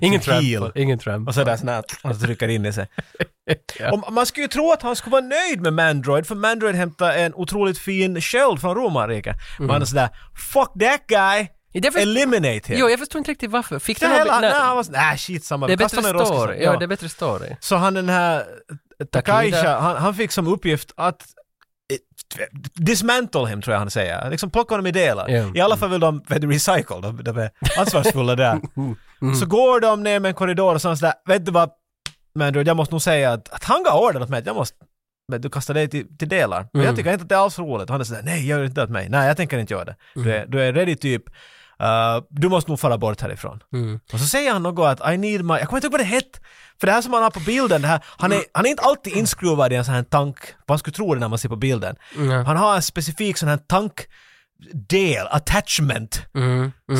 A: Ingen
B: Till heel.
A: tramp. Ingen tramp.
B: Och sådär snabbt. Och så trycker in i sig.
A: [LAUGHS] Ja.
B: Och man skulle ju tro att han skulle vara nöjd med Mandroid, för Mandroid hämtade en otroligt fin sköld från romarriket.
A: Mm.
B: Men han är sådär “Fuck that guy!
A: Det är för-
B: Eliminate him!”
A: Jo, jag förstår inte riktigt varför. Fick
B: Så
A: den
B: hela-
A: nej,
B: nej, han var "Äh, sådär “Nä, skitsamma,
A: Det är
B: vi kastar
A: bättre
B: honom i roskisen."
A: story. Ja, det är bättre story.
B: Så han den här Takaisha,
A: Takida.
B: han, han fick som uppgift att eh, dismantle him tror jag han säger. Liksom plocka honom i delar.
A: Ja.
B: I alla fall vill de vet du, recycle, de, de är ansvarsfulla där. Så går de ner med en korridor och så är han sådär, vet du vad Mandroid, jag måste nog säga att, att han gav order åt mig att jag måste men du kastar dig till, till delar. Men
A: Mm.
B: jag tycker inte att det är alls roligt. Han är sådär, nej gör inte det åt mig. Nej, jag tänker inte göra det. Du
A: Mm.
B: är, du är ready typ, eh, du måste nog fara bort härifrån.
A: Mm.
B: Och så säger han något att I need my, jag kommer inte ihåg vad det hette. För det här som han har på bilden, det här, han, är, han är inte alltid inskruvad i en sån här tank, man skulle tro det när man ser på bilden. Han har en specifik sån här tank del, attachment,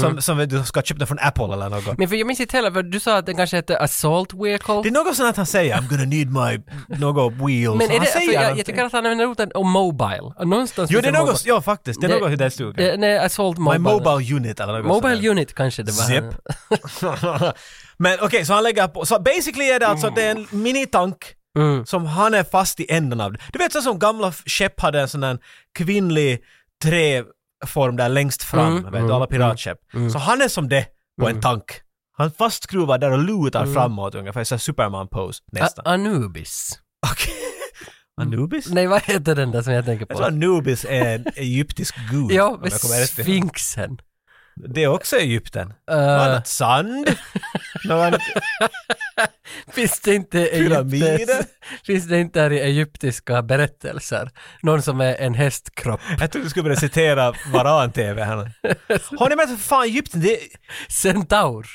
B: Som, som du ska köpa från Apple eller något.
A: Mm, Men för jag minns inte heller, för du sa att den kanske hette Assault Vehicle.
B: Det är något sånt att han säger I'm gonna need my något wheels.
A: men är
B: han
A: det,
B: säger
A: för jag, jag
B: någonting.
A: tycker att han använder ordet om Mobile. Och Någonstans
B: Jo,
A: Alltså, finns
B: det är
A: en
B: något, ja faktiskt, det är
A: Det-
B: något i den stugan.
A: Det- Nej, Assault
B: My
A: Mobile.
B: mobile unit eller något sånt där.
A: Mobile Unit kanske det var.
B: Zip. [LAUGHS] Men okej, så han lägger på. Så basically är det alltså att det är en minitank
A: Mm.
B: som han är fast i änden av. Du vet så som gamla f- skepp hade en sån där kvinnlig träform där längst fram,
A: Mm,
B: vet du, alla piratskepp. Så han är som det på en tank. Han fastskruvar där och lutar
A: Mm.
B: framåt ungefär, så här Superman-pose
A: A-
B: nästan.
A: Anubis.
B: [LAUGHS] Okej. Anubis?
A: Nej, vad heter den där som jag tänker
B: Jag tror
A: på?
B: Anubis är en egyptisk gud.
A: Ja,
B: om
A: med
B: jag kommer rätt ihåg.
A: Sfinxen.
B: Det är också Egypten.
A: Eh.
B: Något annat [LAUGHS] sand. Något annat
A: Finns det inte
B: Pyramider?
A: Egyptens, Finns det inte här i egyptiska berättelser? Någon som är en hästkropp.
B: Jag trodde du skulle börja citera Varan-TV här nu. Har ni märkt för fan Egypten, det är
A: Centaur.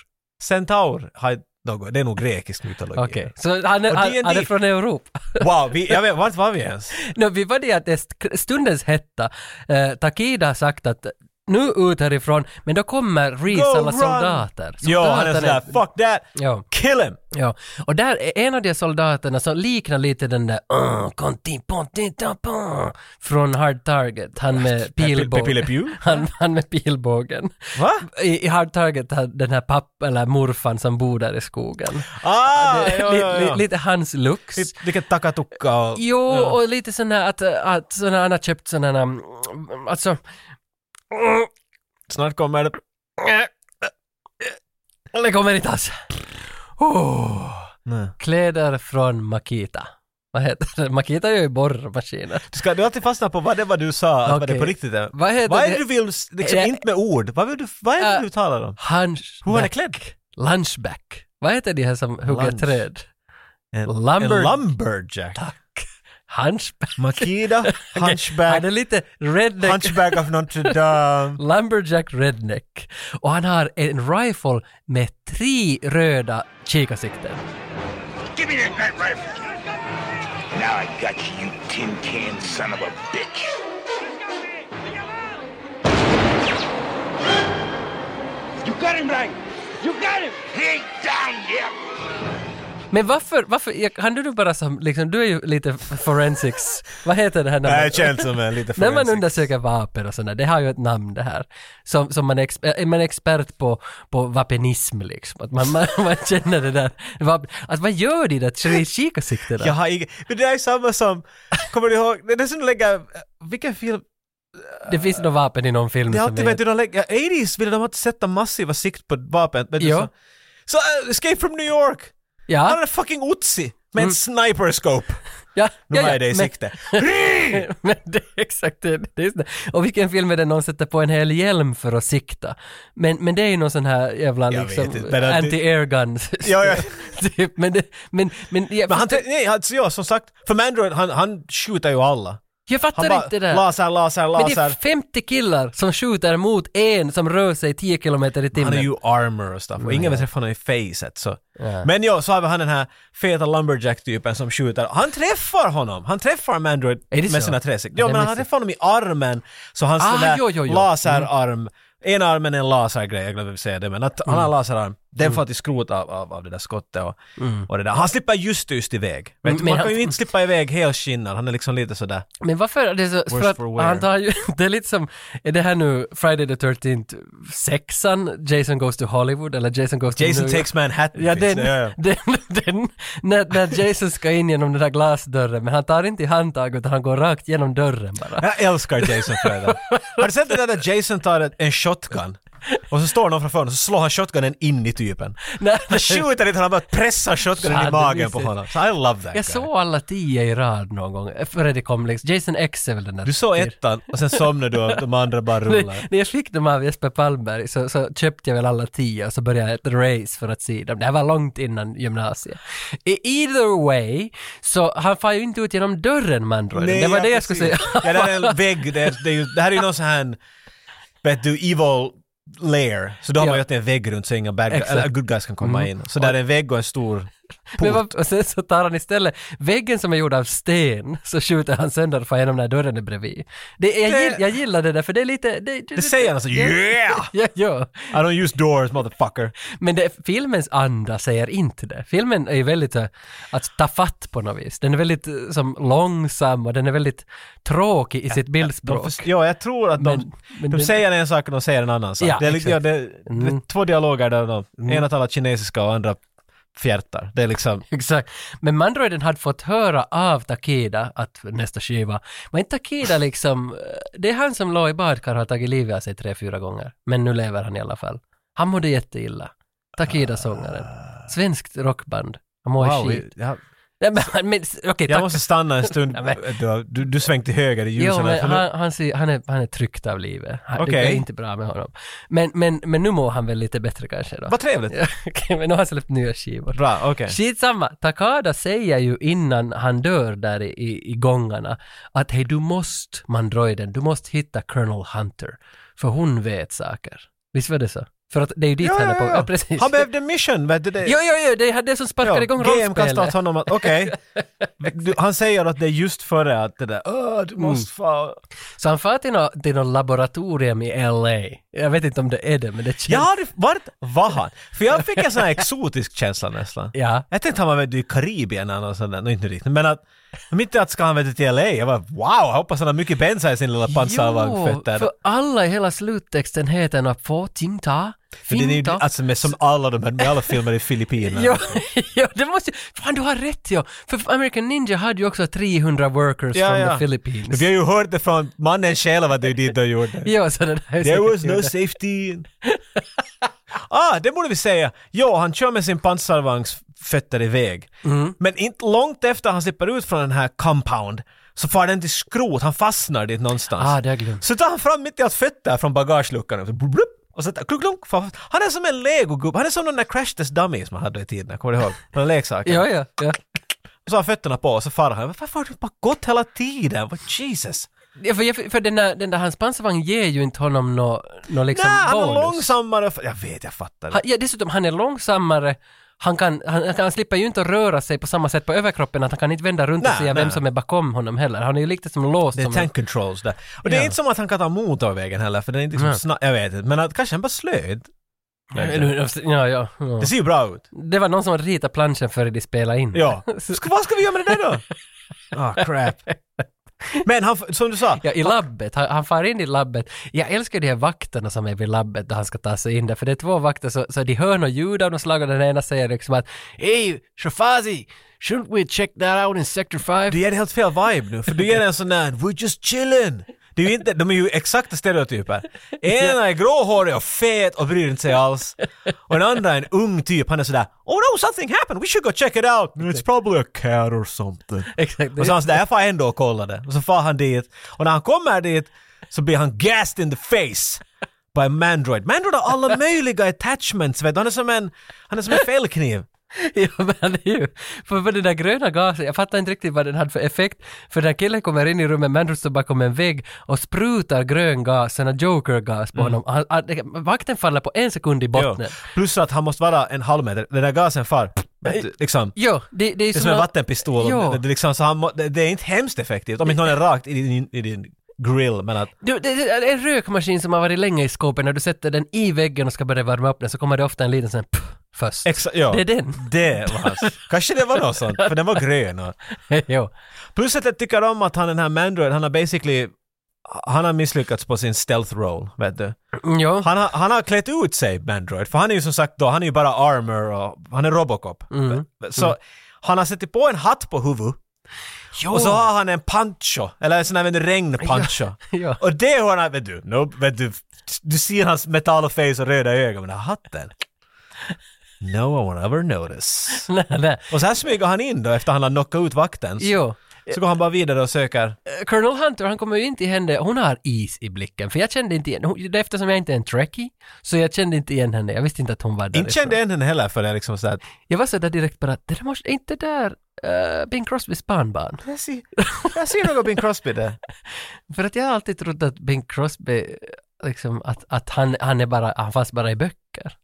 B: centaur, har något, det är nog grekisk mytologi.
A: Okej, så han är,
B: Och
A: han,
B: D&D.
A: han är från Europa. [LAUGHS]
B: Wow, vi, jag vet, vart var vi ens?
A: no, vi var det att det st- stundens hetta, eh, Takida har sagt att nu ut härifrån, men då kommer Reeves
B: Go,
A: alla
B: run!
A: soldater.
B: Jo, han är
A: Soldaterna-
B: sådär, fuck that,
A: Ja.
B: kill him!
A: Ja, och där är en av de soldaterna som liknar lite den där "Ah, Conti Ponti Tapon från Hard Target, han med pilbågen.
B: Pepe Le Pew?
A: Han, han med pilbågen. [LAUGHS]
B: Va?
A: I, I Hard Target har den här papp eller morfan som bor där i skogen.
B: Ah,
A: Det-
B: ja, ja,
A: li- li-
B: ja.
A: Lite hans looks.
B: Typ Vilket takatukka och...
A: Jo, och lite sån här att, att sån här, han har köpt sån här, mm, alltså,
B: Snart kommer det...
A: det kommer inte alls. Oh.
B: Nej.
A: Kläder från Makita. Vad heter det? Makita gör ju borrmaskiner.
B: Du, ska, du har alltid fastnat på vad det var du sa, att vad det
A: Okej.
B: på riktigt är.
A: Vad heter
B: vad är
A: det?
B: det du vill, s- liksom
A: Eh,
B: inte med ord, vad, vill du, vad är det
A: eh,
B: du talar om?
A: Hunchback.
B: Hur var det klädd?
A: Lunchback. Vad heter de här som hugger
B: Lunch.
A: träd?
B: En,
A: Lumber-
B: en lumberjack.
A: Hunchback.
B: [LAUGHS] Makida,
A: Han
B: hunchback,
A: är lite redneck.
B: hunchback of
A: [LAUGHS]
B: Notre Dame.
A: Lumberjack Redneck. Och han har en rifle med tre röda kikarsikten.
C: Give me that night rifle. Now I got you, you tin can son of a bitch. You got him right. You got him. He ain't down yet.
A: Men varför, varför, jag- kan du nu bara som, liksom, du är ju lite forensics, vad heter det här
B: Det här
A: namnet?
B: känns som en lite
A: [LAUGHS] När man
B: forensic.
A: undersöker vapen och sådär, det har ju ett namn det här. Som, som man, är exper- är man expert på, på vapenism liksom. Att man, [LAUGHS] man, man känner det där. Vap- Att vad gör de där tre kikarsiktena?
B: Jag har ing... Men det där är samma som... Kommer du ihåg? Det är som de lägger... Vilken film?
A: Det finns nog vapen i någon film
B: Det är
A: som
B: alltid vet
A: är...
B: du, de lägger... 80s ville de alltid sätta massiva sikt på vapen. Vet du,
A: Jo.
B: så, så uh, Escape from New York! Han
A: Ja,
B: hade fucking Otzi med
A: Mm.
B: en
A: [LAUGHS]
B: sniper scope.
A: ja,
B: Nu
A: ja,
B: har
A: ja,
B: jag det i
A: men-
B: sikte.
A: [LAUGHS] Men det är exakt det. det, är just det. Och vilken film är det någon sätter på en hel hjälm för att sikta? Men, men det är ju någon sån här jävla
B: Jag vet
A: liksom
B: inte, men att det-
A: anti-air gun.
B: Ja, ja.
A: [LAUGHS] typ. Men, det, men, men, jag,
B: Men han...
A: fattar-
B: tän- Nej, alltså ja, som sagt. För Mandroid, han, han skjuter ju alla.
A: jag
B: Han
A: fattar
B: bara
A: inte det där.
B: laser, laser,
A: Men det är
B: laser.
A: 50 killar som skjuter mot en som rör sig 10 kilometer i
B: Han
A: timmen.
B: är ju armor och stuff och
A: Mm,
B: ingen vill träffa honom i facet så. Men ja, så har vi han den här feta lumberjack-typen som skjuter. Han träffar honom! Han träffar Mandroid
A: Är det
B: med
A: så?
B: sina träsik.
A: Ja,
B: Ja,
A: det
B: men han
A: missade.
B: träffar honom i armen så hans
A: Ah,
B: sån där
A: jo, Mm. jo, jo.
B: laserarm, ena armen är en lasergrej, jag glömde säga det men att han har
A: Mm.
B: en laserarm. Den får till skrot av, av, av det där skottet och, och det där. Han slipper just just iväg. Vet du,
A: Mm. Men
B: man
A: han- Mm,
B: kan ju inte slippa iväg helskinnad, han är liksom lite sådär.
A: Men varför är det så?
B: Worse
A: För att
B: for wear.
A: han tar ju, [LAUGHS] det är lite som, är det här nu Friday the 13th sexan, Jason goes to Hollywood eller Jason goes to
B: Jason
A: New York?
B: takes Manhattan.
A: Ja, den,
B: finns det, ja, ja.
A: den, den när, när Jason ska in genom den där glasdörren, men han tar inte i handtaget utan han går rakt genom dörren bara.
B: Jag älskar Jason Freda. Har du sett det där där Jason tar ett- en shotgun? Och så står någon framför honom och så slår han shotgunen in i typen.
A: Nej,
B: Han skjuter inte, han bara pressar shotgunen i
A: Fan, det är
B: magen på
A: mysigt.
B: honom. Så I love that guy.
A: jag såg alla tio i rad någon gång, eh, före det kom liksom. Jason X är väl den där.
B: Du såg ettan och sen somnade du och de andra bara
A: Nej,
B: rullar.
A: När jag fick dem av Jesper Palmberg så, så köpte jag väl alla tio och så började jag ett race för att se dem. Det här var långt innan gymnasiet. E- Either way, så han far ju inte ut genom dörren man drar. Det var
B: ja,
A: det jag
B: precis.
A: skulle säga.
B: Ja, det här är en vägg. Det, är, det, är ju, det här är ju någon sån här, vet du, evil lair. Så då har
A: Ja.
B: man ju alltid en vägg runt så inga bad,
A: Exakt. Mm.
B: eller good guys kan komma in. Så där är en vägg och en stor
A: Men vad, och sen så tar han istället väggen som är gjord av sten, så skjuter han sönder för genom den här dörren är bredvid. Det, jag,
B: Det-
A: gill, jag gillar det där, för det är lite... Det, det,
B: Det säger han alltså, yeah!
A: [LAUGHS] Ja, ja.
B: I don't use doors motherfucker.
A: Men det, filmens anda säger inte det. Filmen är ju väldigt eh, att ta fatt på något vis. Den är väldigt eh, som, långsam och den är väldigt tråkig i sitt
B: De
A: bildspråk.
B: först- ja, jag tror att de,
A: Men- men
B: de
A: det-
B: säger en sak och de säger en annan sak.
A: Ja,
B: det är liksom, ja,
A: exakt.
B: det, det är
A: Mm.
B: två dialoger där de, ena talar kinesiska och andra fjärtar. Det är liksom,
A: [LAUGHS] Exakt. Men Mandroiden hade fått höra av Takida att nästa skiva, men Takida liksom, eh, det är han som låg i badkar och har tagit livet av sig tre, fyra gånger. Men nu lever han i alla fall. Han mådde jätteilla. Takida-sångaren. Svenskt rockband. Han mår
B: Ah. wow,
A: skit.
B: jag,
A: Nej, men, han- men, okej,
B: jag
A: tack.
B: måste stanna en
A: [LAUGHS]
B: stund. Äh,
A: Ja, men-
B: Du, har- du, du svängt till höger i
A: Jo,
B: ljusen. här,
A: men
B: för nu-
A: han, han, ser, han, är, han är tryckt av livet. Han, Det
B: Okej.
A: är inte bra med honom. Men, men, men nu mår han väl lite bättre kanske då.
B: Vad trevligt.
A: Ja, [LAUGHS] Okej, men nu har han släppt nya skivor.
B: Bra, okej.
A: Skitsamma, Takada säger ju innan han dör där i, i, i gångarna att hej, du måste, mandroiden, du måste hitta Colonel Hunter, för hon vet saker. Visst var det så? För att det är ju dit
B: Ja,
A: han är
B: ja,
A: på. [LAUGHS]
B: ja.
A: Ja, precis.
B: Han behövde mission, vet du det?
A: Jo, jo, jo, det är det som sparkar igång
B: GM kastar åt
A: rollspelet.
B: honom
A: [LAUGHS]
B: att, okej. Du- Han säger att det är just före att det där, "Åh, du måste fan...
A: Mm. Så han far till något till nå laboratorium i LA. Jag vet inte om det är det, men det känns...
B: Jag hade, vart var han? För jag fick en sån här exotisk känsla nästan.
A: Ja.
B: Jag tänkte han var vet du, i Karibien eller något sånt där, Nå, inte riktigt. Men att, om inte att ska han vet du, till LA, jag var wow, jag hoppas han har mycket bensa i sin lilla pansarvagn. där.
A: för alla i hela sluttexten heter något Fortinta,
B: För det är ju,
A: Finta.
B: alltså med, som alla de här, med alla filmer i Filippinerna.
A: [LAUGHS] Ja, ja, det måste ju- Fan, du har rätt ja. För American Ninja hade ju också 300 workers från från the
B: Men
A: Philippines.
B: Vi har ju hört det från mannen själv att det är dit
A: [LAUGHS]
B: de gjorde.
A: Ja, så det där är
B: There
A: säkert
B: was no
A: gjort.
B: safety. [LAUGHS] ah, det borde vi säga. Jo, han kör med sin pansarvagns fötter iväg.
A: Mm.
B: Men inte långt efter han slipper ut från den här compound så far den till skrot, han fastnar dit någonstans.
A: Ah, det har jag glömt.
B: Så tar han fram mitt i allt fötter från bagageluckan och så blup, och så klunk, klunk, fast. Han är som en legogubbe, han är som den där crash test dummy som man hade i tiden,
A: [LAUGHS]
B: kommer du ihåg? Den leksaken.
A: [LAUGHS] Ja, ja, ja.
B: Och så har han fötterna på och så far han. Varför har du bara gått hela tiden? Vad Jesus!
A: ja för, för- för den, där, den där hans pansarvagn ger ju inte honom nå nå liksom
B: Nej, han är
A: bonus.
B: långsammare. Jag vet, jag fattar.
A: Han, ja, dessutom, han är långsammare. Han, kan, han, han, han slipper ju inte att röra sig på samma sätt på överkroppen, att han kan inte vända runt och
B: Nej,
A: se
B: nej.
A: vem som är bakom honom heller. Han är ju lite som låst.
B: Det är
A: som
B: tank controls där. Och det är
A: Ja.
B: inte som att han kan ta motorvägen heller, för den är inte liksom
A: Nej.
B: snabb. Jag vet inte, men att kanske han bara slöd.
A: ja, ja, ja.
B: Det ser ju bra ut.
A: Det var någon som ritade planschen före de spelade in. [LAUGHS]
B: Ja. Ska, vad ska vi göra med det där då? Ah, crap. Men han, f- som du sa,
A: Ja, i labbet. Han, han far in i labbet. Jag älskar de här vakterna som är vid labbet då han ska ta sig in där, för det är två vakter så, så de hör något ljud av något slag och den ena säger liksom att Hej, Shafazi! Shouldn't we check that out in sector 5?
B: du ger det helt fel vibe nu, för du ger en sån där “We're just chillin”. Det är ju inte, de är ju exakta stereotyper. Ena är gråhårig och fet och bryr inte sig alls. Och den andra är en ung typ, han är sådär “Oh no, something happened, we should go check it out”. “It's probably a cat or something”.
A: Exakt.
B: Och så han sådär, jag far ändå och kollar det. Och så far han dit. Och när han kommer dit så blir han gassed in the face by Mandroid. Mandroid har alla möjliga attachments, vet du. Han är som en, han är som en fällkniv.
A: [LAUGHS] Ja, men han är ju... För, för den där gröna gasen, jag fattar inte riktigt vad den hade för effekt. För den killen kommer in i rummet, Mandrew står bakom en vägg och sprutar grön gas, sån här joker-gas
B: Mm.
A: på honom. Han, han, vakten faller på en sekund i botten.
B: Jo. Plus att han måste vara en halv meter. Den där gasen far, vet du, liksom.
A: Jo, det, det är ju
B: Det är som en
A: nå-
B: vattenpistol.
A: Jo.
B: Det, det, är liksom, så han, må- det, det är inte hemskt effektivt. Om inte någon är rakt i din, i din grill, men att...
A: Du, det det är en rökmaskin som har varit länge i skåpet, när du sätter den i väggen och ska börja värma upp den så kommer det ofta en liten sån här pff först.
B: Exa, ja.
A: Det är den. [LAUGHS]
B: Det var hans. Kanske det var något sånt, för den var grön. Och,
A: jo.
B: Plus att jag tycker om att han den här Mandroid, han har basically han har misslyckats på sin stealth roll, vet du.
A: Mm, jo.
B: Han har, han har klätt ut sig, Mandroid, för han är ju som sagt då, han är ju bara armor och han är Robocop.
A: Mm.
B: Så han har sett på en hatt på huvudet
A: jo.
B: och så har han en pancho, eller en sån här vet du, regnpancho.
A: ja. [LAUGHS]
B: Och det har han, vet du, nope, vet du, du ser hans metallface och röda ögon, men den här hatten. No one will ever notice.
A: Nej, nej.
B: Och så här smyger han in då efter han har knockat ut vakten.
A: Jo.
B: Så går han bara vidare och söker
A: Eh, Colonel Hunter, han kommer ju inte i henne, hon har is i blicken, för jag kände inte igen hon, eftersom jag inte är en trekkie, så jag kände inte igen henne, jag visste inte att hon var där.
B: Inte kände jag henne heller för det är liksom såhär att...
A: Jag var sådär direkt bara, det där måste, är inte där eh, Bing Crosbys barnbarn?
B: Jag ser, jag ser något Bing Crosby där.
A: För att jag har alltid trott att Bing Crosby, liksom, att, att han, han är bara, han fanns bara i böcker.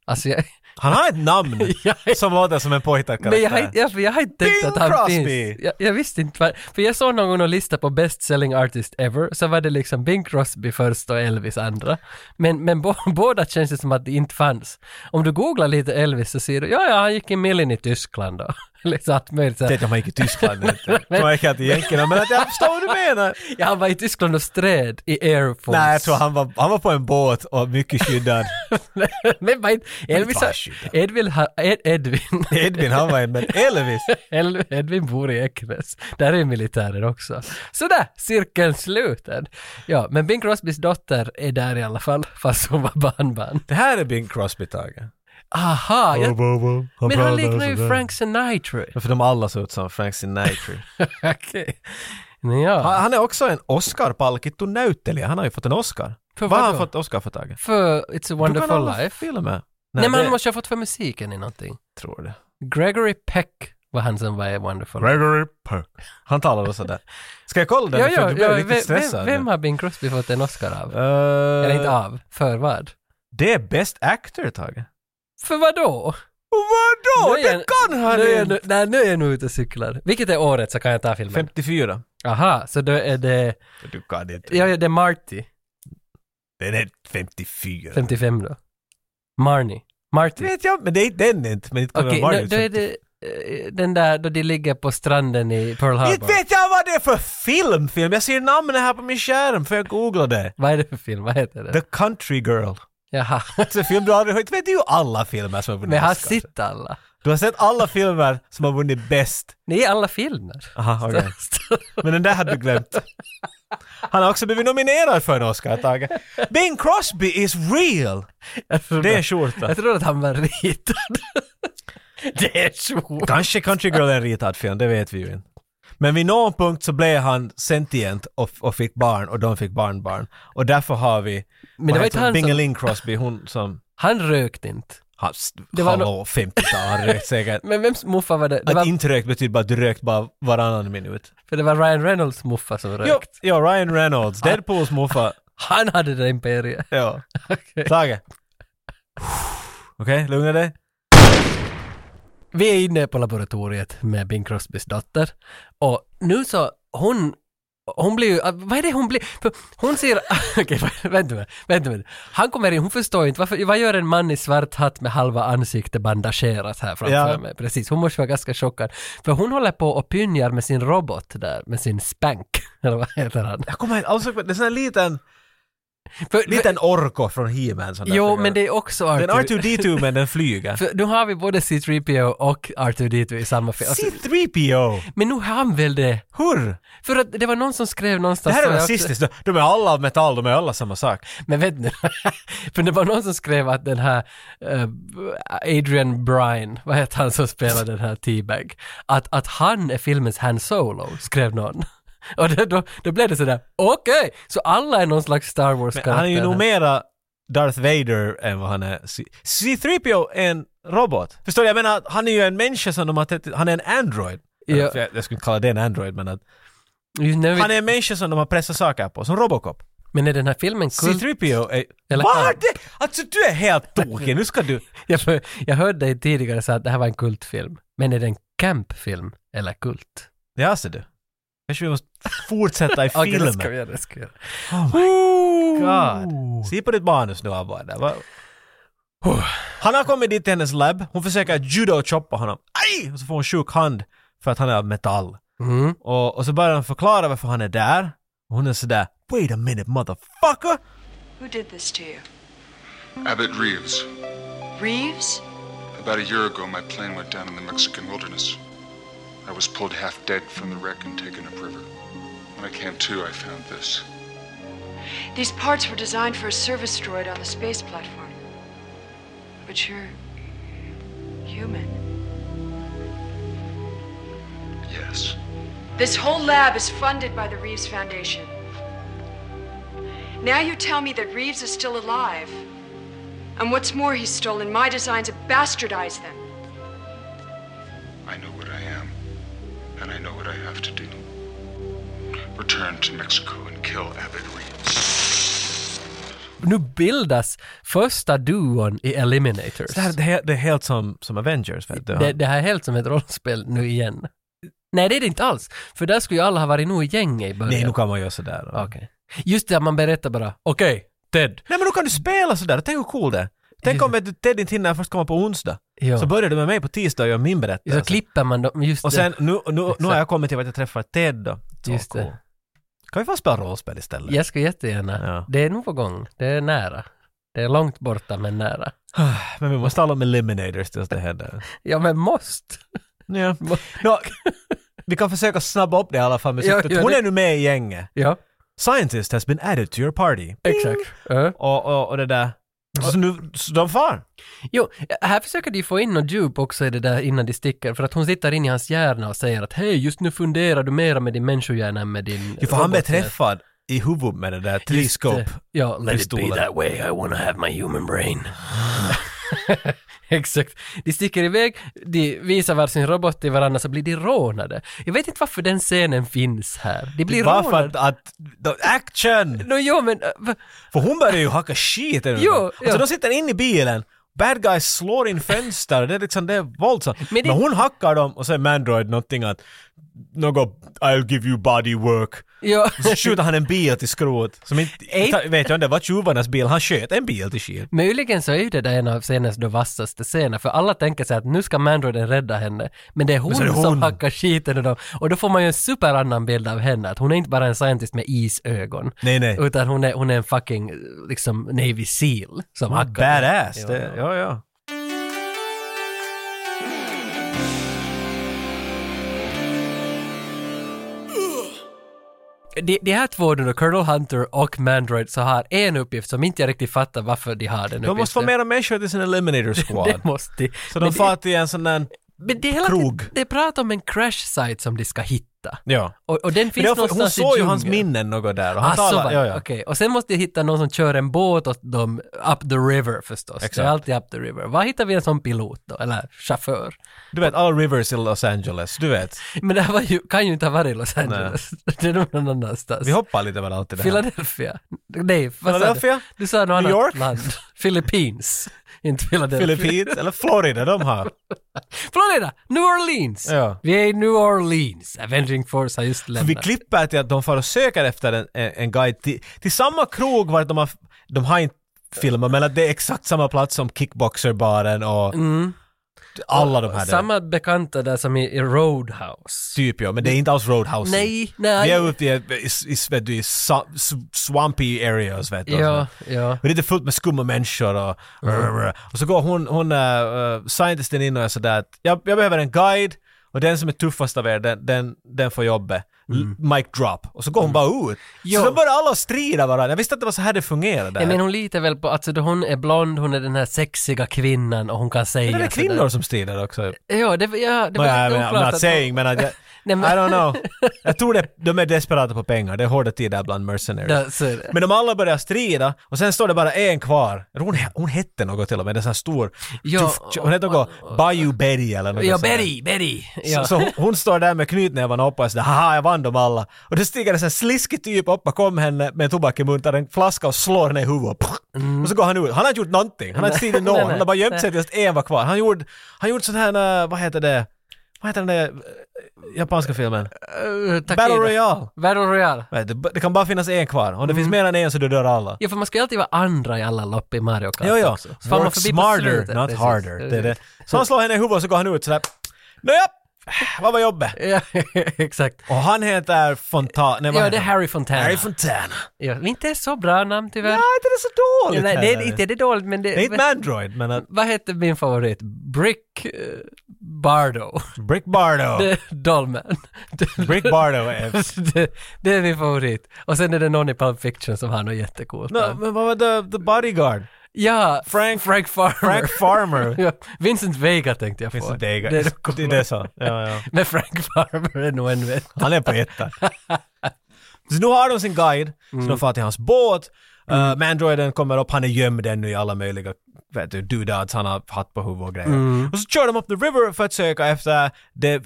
A: Alltså jag,
B: Han har
A: [LAUGHS]
B: ett namn som låter som en pojktackare.
A: Men jag har, inte- jag, för jag har inte tänkt
B: Bing
A: att han
B: Crosby!
A: finns. Jag, jag visste inte. vad- För jag såg någon gång lista på best selling artist ever, så var det liksom Bing Crosby först och Elvis andra. Men, men bo, [LAUGHS] båda känns det som att det inte fanns. Om du googlar lite Elvis så ser du, ja, ja, han gick i millen i Tyskland då. [LAUGHS] liksom allt möjligt. Så här.
B: Tänk om han gick
A: [LAUGHS]
B: i Tyskland. inte. Jag gick inte i jänkarna, men att jag förstår vad du menar.
A: Ja, han var i Tyskland och stred i Air Force.
B: Nej, jag tror han var, han var på en båt och mycket skyddad.
A: [LAUGHS] men var inte, Elvis,
B: var
A: har-
B: skyddad.
A: Edvin, har- Ed, Edvin,
B: Edvin, han var en, men Elvis.
A: [LAUGHS] El- Edvin bor i Eknäs. Där är militärer också. Sådär, cirkeln sluten. Ja, men Bing Crosbys dotter är där i alla fall, [LAUGHS] fast hon var barnbarn.
B: Det här är Bing Crosby, Tage.
A: Aha! Jag, Ah, men han liknar ju Frank Sinatra. [LAUGHS]
B: För de alla ser ut som Frank Sinatra.
A: Okej. Okay. [LAUGHS] Ja.
B: Han han är också en Oscar-palkittu näyttelijä. Han har ju fått en Oscar.
A: För
B: Vad har han
A: vadå?
B: fått Oscar för Tage?
A: För It's a
B: Du kan
A: wonderful
B: alla
A: life.
B: Filmer. Nej,
A: Nej, men
B: det-
A: han måste ju ha fått för musiken i någonting.
B: Tror det.
A: Gregory Peck var han som var i Wonderful Life.
B: Gregory Peck. Han talade sådär. Ska jag kolla den?
A: Ja,
B: För
A: ja,
B: du blev
A: ja,
B: riktigt
A: vem,
B: stressad
A: vem,
B: nu.
A: vem har Bing Crosby fått en Oscar av?
B: Eh,
A: Eller inte av, för vad?
B: Det är Best Actor, Tage.
A: För vad då?
B: Vadå?
A: Nu är jag-
B: Det kan han
A: nu är jag,
B: inte!
A: nu, nej, nu är jag nog ute och cyklar. Vilket är året så kan jag ta filmen.
B: 54.
A: Aha, så då är det,
B: Du kan inte.
A: ja, det är Marty,
B: Den är 54.
A: 55 då. Marnie, Marty.
B: Vet jag, men det är inte den inte. Men inte kommer
A: Okej,
B: jag vara
A: nu- då är det eh, den där då de ligger på stranden i Pearl
B: Inte
A: Harbor.
B: vet jag vad det är för film, film. Jag ser namnet här på min skärm för jag googlade.
A: Vad är det för film? Vad heter den?
B: The Country Girl.
A: Jaha. [LAUGHS]
B: Det är en film du aldrig hört. Vet du ju alla filmer som har vunnit
A: Men har
B: Oscar.
A: sett alla?
B: Du har sett alla filmer som har vunnit bäst.
A: Nej, alla filmer. [LAUGHS]
B: Aha, Ah, okej. Men den där hade du glömt. Han har också blivit nominerad för en Oscar, Tage. Bing Crosby is real!
A: Jag trodde-
B: Det är en skjorta.
A: Jag tror att han var ritad. [LAUGHS] det är sjukt.
B: Kanske Country Girl är en ritad film, det vet vi ju inte. Men vid någon punkt så blev han sentient och, och fick barn och de fick barnbarn. Och därför har vi
A: Men det var inte han som-
B: Bingeling Crosby, hon som...
A: Han rökte inte.
B: Han,
A: Det var
B: hallå, 50-tal, han rökt
A: [LAUGHS]
B: säkert.
A: Men vems muffa var det? det
B: Att
A: var,
B: inte rökt betyder bara att du rökt bara varannan minut.
A: för det var Ryan Reynolds muffa som rökte.
B: Jo, ja, Ryan Reynolds,
A: Ah.
B: Deadpools morfar.
A: Han hade det imperiet. [LAUGHS]
B: Ja.
A: Okej. [LAUGHS]
B: Tage. Okej, lugna dig.
A: Vi är inne på laboratoriet med Bing Crosbys dotter och nu så hon hon blir ju, ah, vad är det hon blir? För hon ser, [LAUGHS] okej vänta med, vänta med. Han kommer in, hon förstår inte, varför, vad gör en man i svart hatt med halva ansiktet bandagerat här framför
B: Ja.
A: mig? Precis, hon måste vara ganska chockad. För hon håller på och pynjar med sin robot där, med sin spank, [LAUGHS] eller vad heter han?
B: Jag kommer inte
A: alltså,
B: alls ihåg, det är en sån här liten,
A: För, för,
B: liten orko från He-Man. sån där
A: jo,
B: figur.
A: men det är också
B: Den
A: Arthur.
B: R2D2 men
A: [LAUGHS]
B: den flyger.
A: För nu har vi både C3PO och R2D2 i samma film.
B: Alltså, C3PO!
A: Men nu har han väl det?
B: Hur?
A: För att det var någon som skrev
B: Det
A: någonstans...
B: här
A: som
B: är
A: jag också-
B: rasistiskt. De- De är alla av metall, de är alla samma sak.
A: Men vet nu. [LAUGHS] för det var någon som skrev att den här eh, Adrian Bryan, vad heter han som spelar den här T-Bag, att, att han är filmens Han Solo, skrev någon. [LAUGHS] Och då, då, då blev det sådär, okej! Så alla är någon slags Star Wars-karaktär.
B: Men han är ju nog
A: här.
B: mera Darth Vader än vad han är. C- C3PO är en robot. Förstår du? Jag menar, han är ju en människa som de har tätt, Han är en android.
A: Ja.
B: Eller, för Jag, jag skulle inte kalla det en android, men att
A: Ju när vi-
B: Han är en människa som de har pressat saker på, som Robocop.
A: Men är den här filmen kul?
B: C3PO är...
A: Eller han.
B: Vad? Det- Alltså du är helt tokig, nu ska du...
A: Jag, jag hörde dig tidigare säga att det här var en kultfilm. Men är det en campfilm eller kult?
B: Ja, ser du. Kanske vi måste fortsätta i
A: [LAUGHS] Okej, det
B: filmen.
A: ska vi göra, det Oh ska vi göra.
B: Oh God. Se på ditt manus nu Abba. Där. Va? Han har kommit dit till hennes labb. Hon försöker judo-choppa honom. Aj! Och så får hon sjuk hand för att han är av metall.
A: Mm.
B: Och, och så börjar han förklara varför han är där. Och hon är sådär “Wait a minute motherfucker!”
E: Who did this to you?
F: Abbott Reeves.
E: Reeves?
F: About a year ago, my plane went down in the Mexican wilderness. I was pulled half dead from the wreck and taken upriver. When I came to, I found this.
E: These parts were designed for a service droid on the space platform. But you're human.
F: Yes.
E: This whole lab is funded by the Reeves Foundation. Now you tell me that Reeves is still alive. And what's more, he's stolen my designs and bastardized them.
F: I know what I am, and I know what I have to do. Return to Mexico and kill Abbott Reeves.
A: nu bildas första duon i Eliminators.
B: Det, här, det, är- det är helt som, som Avengers, vet du.
A: Det, det här är helt som ett rollspel nu igen. Nej, det är det inte alls. För där skulle ju alla ha varit nog i gänget i början.
B: Nej, nu kan man göra sådär.
A: Okej. Just det, att man berättar bara, okej, Ted.
B: Nej, men då kan du spela sådär. Tänk hur cool det är. Tänk om vet du, Ted inte hinner först komma på onsdag.
A: Ja.
B: Så
A: Så,
B: börjar du med mig på tisdag och gör min berättelse.
A: klipper man dem, just
B: Alltså. och sen, nu, nu, nu har
A: Exakt.
B: jag kommit till att jag träffar Ted då. Så
A: Just det.
B: cool. Kan vi få spela rollspel istället?
A: det. Jag skulle jättegärna.
B: Ja.
A: Det är nog på gång. Det är nära. Det är långt borta, men nära.
B: Men vi måste tala om eliminators tills
A: [LAUGHS]
B: det händer.
A: Ja, men måste.
B: Ja. Nå, vi kan försöka snabba upp det i alla fall med
A: Ja,
B: syftet.
A: ja,
B: Hon
A: det-
B: är nu med i gänget.
A: Ja,
B: Scientist has been added to your party.
A: exakt. Eh. Ja.
B: Och, och, och det där. Så nu, så de far.
A: Jo, här försöker de ju få in något djup också i det där innan de sticker, för att hon sitter in i hans hjärna och säger att hej, just nu funderar du mera med din människohjärna än med din...
B: Ja, för han blev
A: robothjärna."
B: träffad i huvudet med det där
A: Just det.
B: teleskop.
A: Ja, let it be
B: pistolen.
A: that way, I wanna have my human brain. [LAUGHS] Exakt. De sticker iväg, de visar varsin robot till varandra så blir de rånade. Jag vet inte varför den scenen finns här. De blir
B: Bara för
A: rånade.
B: att, att då- action!
A: Nå jo, men... äh, va-
B: För hon börjar ju hacka skit ur
A: Jo,
B: dem. Alltså
A: ja.
B: de sitter inne i bilen, bad guys slår in fönster, det är liksom det är våldsamt. Men,
A: Men det-
B: hon hackar dem och säger Mandroid någonting att något I'll give you body work.
A: [LAUGHS] Ja.
B: Och Så skjuter han en bil till skrot. Som inte,
A: Ej.
B: ta- vet jag inte, det var tjuvarnas bil, han sköt en bil till skit.
A: Möjligen så är ju det där en av scenens då vassaste scener, för alla tänker sig att nu ska Mandroiden rädda henne, men det är hon,
B: så är det hon.
A: som hackar skiten ur dem. Och då får man ju en superannan bild av henne, att hon är inte bara en scientist med isögon,
B: Nej, nej.
A: utan hon är, hon är en fucking liksom Navy Seal som hackar.
B: Badass.
A: Ja,
B: det, ja, ja.
A: De, de här två, då, Colonel Hunter och Mandroid, så har en uppgift som inte jag riktigt fattar varför de har den
B: De måste få mera människor till sin Eliminator Squad.
A: [LAUGHS] Det måste de.
B: Så de
A: Men
B: far till en sån där...
A: det, men det är hela
B: krog.
A: tiden- Det är prat om en crash site som de ska hitta.
B: Ja.
A: Och, och den
B: Men det
A: finns
B: var för, hon
A: någonstans i
B: såg ju hans
A: djungeln.
B: minnen något där och han
A: Ah, så var
B: talade...
A: det.
B: Ja, ja.
A: Okej, och sen måste jag hitta någon som kör en båt åt dem up the river förstås. Det
B: Exakt.
A: är alltid up the river. Var hittar vi en sån pilot då, eller chaufför?
B: Du vet, alla rivers i Los Angeles, du vet.
A: Men det här var ju, kan ju inte ha varit i Los Angeles. det är nog någon annanstans.
B: Vi hoppar lite överallt i det här.
A: Philadelphia? Nej, vad sa
B: Philadelphia?
A: du? Du sa något
B: New
A: annat
B: York? [LAUGHS]
A: land. Philippines. inte Philadelphia.
B: Philippines, eller Florida, de har.
A: Florida! New Orleans!
B: Ja.
A: Vi är i New Orleans. Avenging Force har just
B: För vi
A: lämnat.
B: klipper till att de får och söker efter en, en, en guide till, till samma krog vart de har, de har inte filmat, men att det är exakt samma plats som kickboxerbaren och alla de här där.
A: Mm. Samma bekanta där som i, i Roadhouse.
B: Typ ja, men det är inte alls Roadhouse.
A: Nej, nej.
B: Vi är ute i, i, i, vet du, i sa- s- swampy areas vet du. alltså.
A: Ja, ja. Mm.
B: Men det är fullt med skumma människor och... Och så går hon, hon äh, äh, scientisten in och är sådär att jag, jag behöver en guide och den som är tuffast av er, den, den, den får jobbet. Mm. Mic drop. Och så
A: Mm.
B: går hon bara ut.
A: Jo.
B: Så då börjar alla strida varandra. Jag visste inte det var så här det fungerade.
A: Nej, men hon litar väl på, alltså då hon är blond, hon är den här sexiga kvinnan och hon kan säga...
B: Men det är
A: sådär.
B: kvinnor som strider också.
A: Ja, det, ja, det
B: No,
A: var
B: jag,
A: lite
B: jag, I'm
A: oklart
B: not
A: att-
B: saying, men, att jag,
A: [LAUGHS] Nej, men-
B: I don't know. Jag tror det, de är desperata på pengar. Det är hårda tider bland mercenaries.
A: Ja, så är det.
B: Men de alla börjar strida och sen står det bara en kvar. Jag tror Hon, hon hette något till och med, en sån här stor...
A: Ja,
B: tuff, hon hette något Bayou Berry eller något
A: Ja,
B: sånt där.
A: Betty, Betty!
B: Så,
A: Ja.
B: så hon, hon står där med knytnävarna uppe och sådär haha jag vann dem alla. Och då stiger en sån här sliskig typ upp bakom henne med en tobak i munnen, tar en flaska och slår henne i huvudet. Pff! Och så går han ut. Han har inte gjort någonting. Han har inte stridit någon.
A: Mm. [LAUGHS] Nej, nej.
B: Han har bara gömt sig
A: Nej.
B: tills en var kvar. Han gjorde, han gjorde sån här, eh, vad heter det, vad heter den där eh, japanska filmen?
A: Eh, Takeda.
B: Battle Royale.
A: Battle Royale.
B: Vet du, Det kan bara finnas en kvar. Om det
A: Mm.
B: finns mer än en så dör alla.
A: Ja, för man ska ju alltid vara andra i alla lopp i Mario Kart
B: Jo, jo.
A: också. Så fan, man
B: Work
A: förbi på
B: smarter,
A: slutet,
B: not
A: precis.
B: harder. Det är det. Så han slår henne i huvudet och så går han ut sådär. Nåja, vad var jobbet?
A: Ja, [LAUGHS] exakt.
B: Och han heter Fontana. Nej, vad
A: Ja,
B: heter
A: det är
B: han?
A: Harry Fontana.
B: Harry Fontana.
A: ja, inte så bra namn tyvärr.
B: Ja, inte det är så dåligt.
A: nej, det är
B: heller.
A: inte det är dåligt, men det...
B: Det är inte
A: men-
B: Mandroid, men att
A: Vad hette min favorit? Brick eh, Bardo.
B: Brick Bardo.
A: [LAUGHS]
B: [LAUGHS]
A: Dolman.
B: Brick
A: [LAUGHS]
B: Bardo är...
A: det, det är min favorit. Och sen är det någon i Pulp Fiction som har något jättecoolt
B: No,
A: namn.
B: men vad var The, the Bodyguard?
A: Ja,
B: Frank-
A: Frank Farmer.
B: Frank Farmer.
A: [LAUGHS] ja, Vincent Vega tänkte jag få.
B: Finns det
A: Det är det
B: [LAUGHS] Det
A: coola.
B: är det så. Ja, ja.
A: Men Frank Farmer är nog en vet.
B: Han är
A: [LAUGHS]
B: på ettan. så nu har de sin guide,
A: Mm.
B: så de far till hans båt. Mm. Mandroiden kommer upp, han är gömd ännu i alla möjliga vet du, doodads, han har hatt på huvudet och grejer.
A: Mm.
B: Och så kör de upp the river för att söka efter det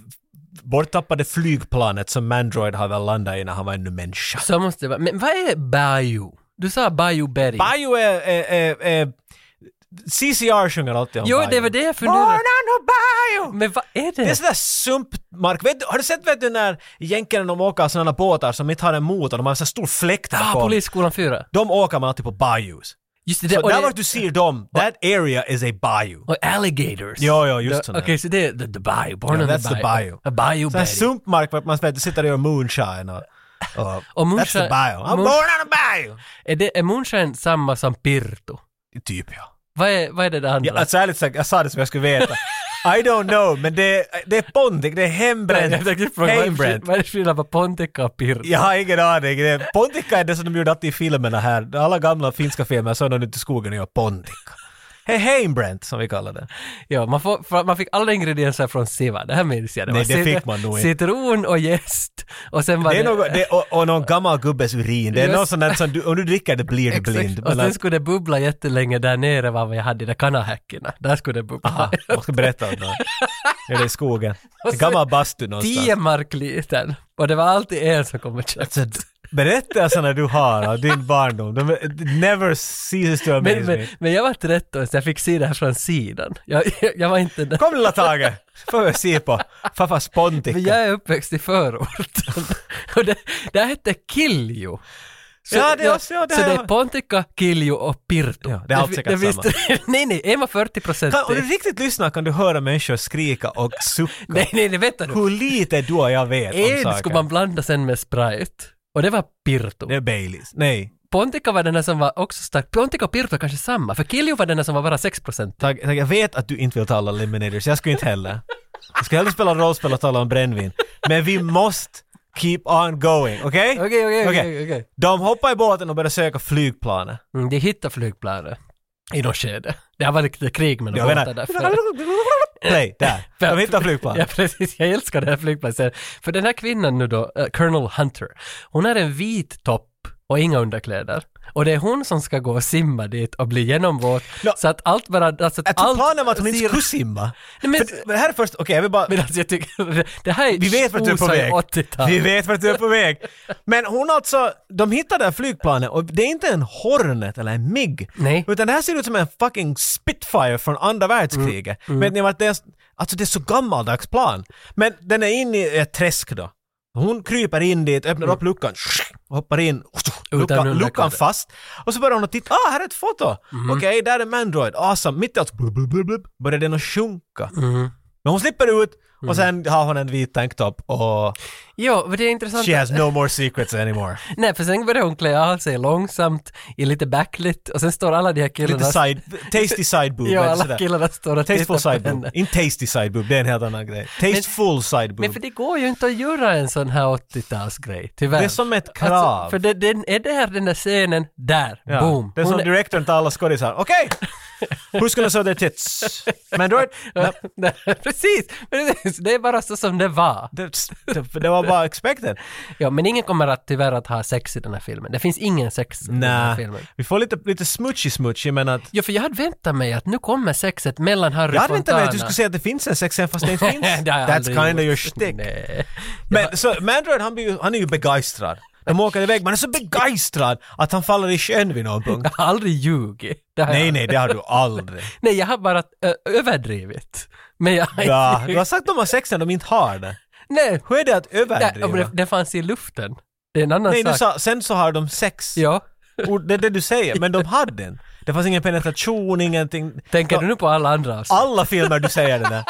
B: borttappade flygplanet som Mandroid har väl landat i när han var ännu människa.
A: Så måste det vara. Men vad är Bayou? Du sa Bayou Berry.
B: Bayou är... är, är, är CCR sjunger alltid om
A: Jo,
B: Bayou.
A: det var det jag
B: Born
A: funderade.
B: on a Bayou!
A: Men vad är det?
B: Det är sådär sumpmark. Vet, du- har du sett vet du, när jänkarna de åker sådana båtar som inte har en motor, de har en sån stor fläkt
A: ah,
B: bakom.
A: Polisskolan 4.
B: De åker man alltid på bayous.
A: Just det,
B: Så
A: och,
B: där
A: det-
B: vart du ser dem, that area is a bayou.
A: och alligators.
B: Ja, ja, just
A: The-
B: sådana.
A: Okej, så det är the, the Bayou. Born
B: Ja,
A: on
B: that's
A: the
B: the
A: Bayou.
B: Bayou.
A: A Bayou
B: Sån här
A: Berry.
B: sumpmark vart man vet, du sitter och gör moonshine och... och,
A: Och
B: that's the
A: moonshine-
B: bayou. I'm
A: moon-
B: born on a bayou!
A: Är, det, är moonshine samma som Pirtu?
B: Typ ja.
A: Vad är, vad är det där andra?
B: ja alltså ärligt sagt, jag sa det som jag skulle veta. I don't know, men det, det är pontic, det är hembränt.
A: jag tänkte fråga, vad är det för-
B: hembränt.
A: vad är det för skillnad på Pontica och Pirtu?
B: Jag har ingen aning. Det är- Pontikka är det som de gjorde alltid i filmerna här. Alla gamla finska filmer så är de ute i skogen och gör pontikka. He- Heimbrent som vi kallar det.
A: Ja, man, får, för- man fick alla ingredienser från Siva, det här minns jag.
B: Nej,
A: var
B: det
A: cit-
B: fick man nog inte.
A: Citron och jäst. Och sen var
B: det
A: det...
B: är något, det, och, och någon gammal gubbes urin. Det är
A: Just-
B: något sånt där som du, om du dricker det blir du
A: Exakt.
B: blind.
A: Och
B: Men
A: sen
B: att,
A: skulle det bubbla jättelänge där nere var vad jag hade i de kanahäckorna. Där skulle det bubbla.
B: aha, Ah, jag ska berätta om det. Det är det i skogen. En
A: så-
B: gammal bastu någonstans.
A: Tio mark liten. Och det var alltid en som kom och
B: Alltså,
A: köpte.
B: d- berättelserna du har av din barndom, de it never ceases to amaze
A: Men, men,
B: me.
A: men jag var 13 så jag fick se det här från sidan. Jag, jag, jag var inte där.
B: Kom lilla Tage! får vi se på. Farfars pontikka.
A: Men jag är uppväxt i förorten. [LAUGHS] och det, det här hette Kiljo. Så,
B: Ja, det är också- ja, det
A: så
B: har
A: det är
B: jag-
A: Pontica, Kiljo och Pirtu.
B: Ja, det är allt
A: fi-
B: säkert
A: visste- [LAUGHS] nej, nej, är man 40 procent
B: Kan, om du riktigt lyssnar kan du höra människor skrika och sucka.
A: Nej, nej, nej, vänta nu.
B: Hur lite du och jag vet om
A: En
B: saker.
A: skulle man blanda sen med Sprite. Och det var Pirtu.
B: Det är Baileys. Nej.
A: Pontica var den här som var också stark. Pontica och Pirtu är kanske samma, för Kiljo var den här som var bara 6 procent.
B: Tag, tag, jag vet att du inte vill tala om Eliminators, jag skulle inte heller. Jag skulle hellre spela rollspel och tala om brännvin. Men vi måste keep on going, okej?
A: Okej, okej, okej, okej.
B: De hoppar i båten och börjar söka flygplanet.
A: Mm, de hittade flygplanet i något skede. Det har varit lite krig med de
B: Jag
A: båtar
B: menar...
A: där. före.
B: Nej, där. De hittar
A: [LAUGHS] Ja,
B: flygplanet.
A: precis. Jag älskar den här flygplatsen. För den här kvinnan nu då, eh, Colonel Hunter, hon har en vit topp och inga underkläder. Och det är hon som ska gå och simma dit och bli genomvåt.
B: Nå,
A: så att allt bara... Alltså
B: Jag
A: att
B: tror
A: allt
B: planen var att hon inte
A: ser-
B: skulle simma.
A: Nej, men,
B: För det- Men det här är först, okej jag vill bara...
A: men alltså jag tycker... Det här är
B: Vi vet vart du är på
A: osar
B: väg.
A: 80-tal.
B: Vi vet vart du är på väg. Men hon alltså, de hittade det här flygplanet och det är inte en Hornet eller en MIG.
A: Nej.
B: Utan det här ser ut som en fucking Spitfire från andra världskriget. Vet ni vad det är? Alltså det är så gammaldags plan. Men den är inne i ett träsk då. Hon kryper in dit, öppnar upp luckan, och hoppar in, luckan,
A: underkläder.
B: luckan fast. Och så börjar hon att titta, ah här är ett foto!
A: Mhm.
B: Okej, där är Mandroid, awesome! Mitt i allt blub, blub, blub, blub, börjar den att sjunka.
A: Mhm.
B: Men hon slipper ut och sen har hon en vit tanktopp och
A: Jo, men det är intressant.
B: She has no more
A: [LAUGHS]
B: secrets anymore.
A: Nej, för sen börjar hon klä av sig långsamt i lite backlit och sen står alla de här killarna...
B: Lite side, tasty side boob.
A: Ja,
B: men
A: alla
B: sådär.
A: killarna står och tittar
B: Tasteful
A: på
B: side
A: henne. [LAUGHS]
B: boob. Inte tasty side boob, det är en helt annan grej. Tasteful side boob.
A: Men för det går ju inte att göra en sån här 80-talsgrej, tyvärr.
B: Det är som ett krav.
A: Alltså, för det, den är där den där scenen, där,
B: Ja,
A: boom.
B: Det är som
A: Hon är-
B: direktorn till alla skådisar. Okej! Who's gonna show their tits?
A: [LAUGHS]
B: Mandroid? No.
A: [LAUGHS] Nej, Precis, precis, det är bara så som det var.
B: Det, det, det var bara expected.
A: Ja, men ingen kommer att tyvärr att ha sex i den här filmen. Det finns ingen sex i den här
B: Nej.
A: filmen.
B: Vi får lite, lite smutsig smutsig men att...
A: Ja, för jag hade väntat mig att nu kommer sexet mellan Harry
B: Jag hade inte
A: Fontana.
B: vetat att du skulle säga att det finns en sexscen fast det
A: [LAUGHS]
B: inte finns.
A: Det har jag
B: That's
A: aldrig
B: kinda
A: gjort.
B: your shtick.
A: Nej.
B: Men så Mandroid han, blir, ju- han är ju begeistrad. De åker iväg, man är så begeistrad att han faller i sjön vid
A: [LAUGHS]
B: någon punkt.
A: Jag har aldrig ljugit. Det har jag
B: Nej,
A: aldrig.
B: nej, det har du aldrig.
A: nej, jag har bara ö, överdrivit. Men jag har
B: Ja,
A: inte
B: du har sagt att de har sex när de inte har det.
A: Nej,
B: Hur är det att
A: nej om det,
B: överdriva?
A: det fanns i luften. Det är en annan
B: Nej,
A: sak.
B: du sa sen så har de sex.
A: Ja.
B: Och Det är det du säger, men de hade den. Det fanns ingen penetration, ingenting.
A: Tänker
B: Ja,
A: du nu på alla andra alltså? avsnitt?
B: Alla filmer du
A: [LAUGHS]
B: säger det där.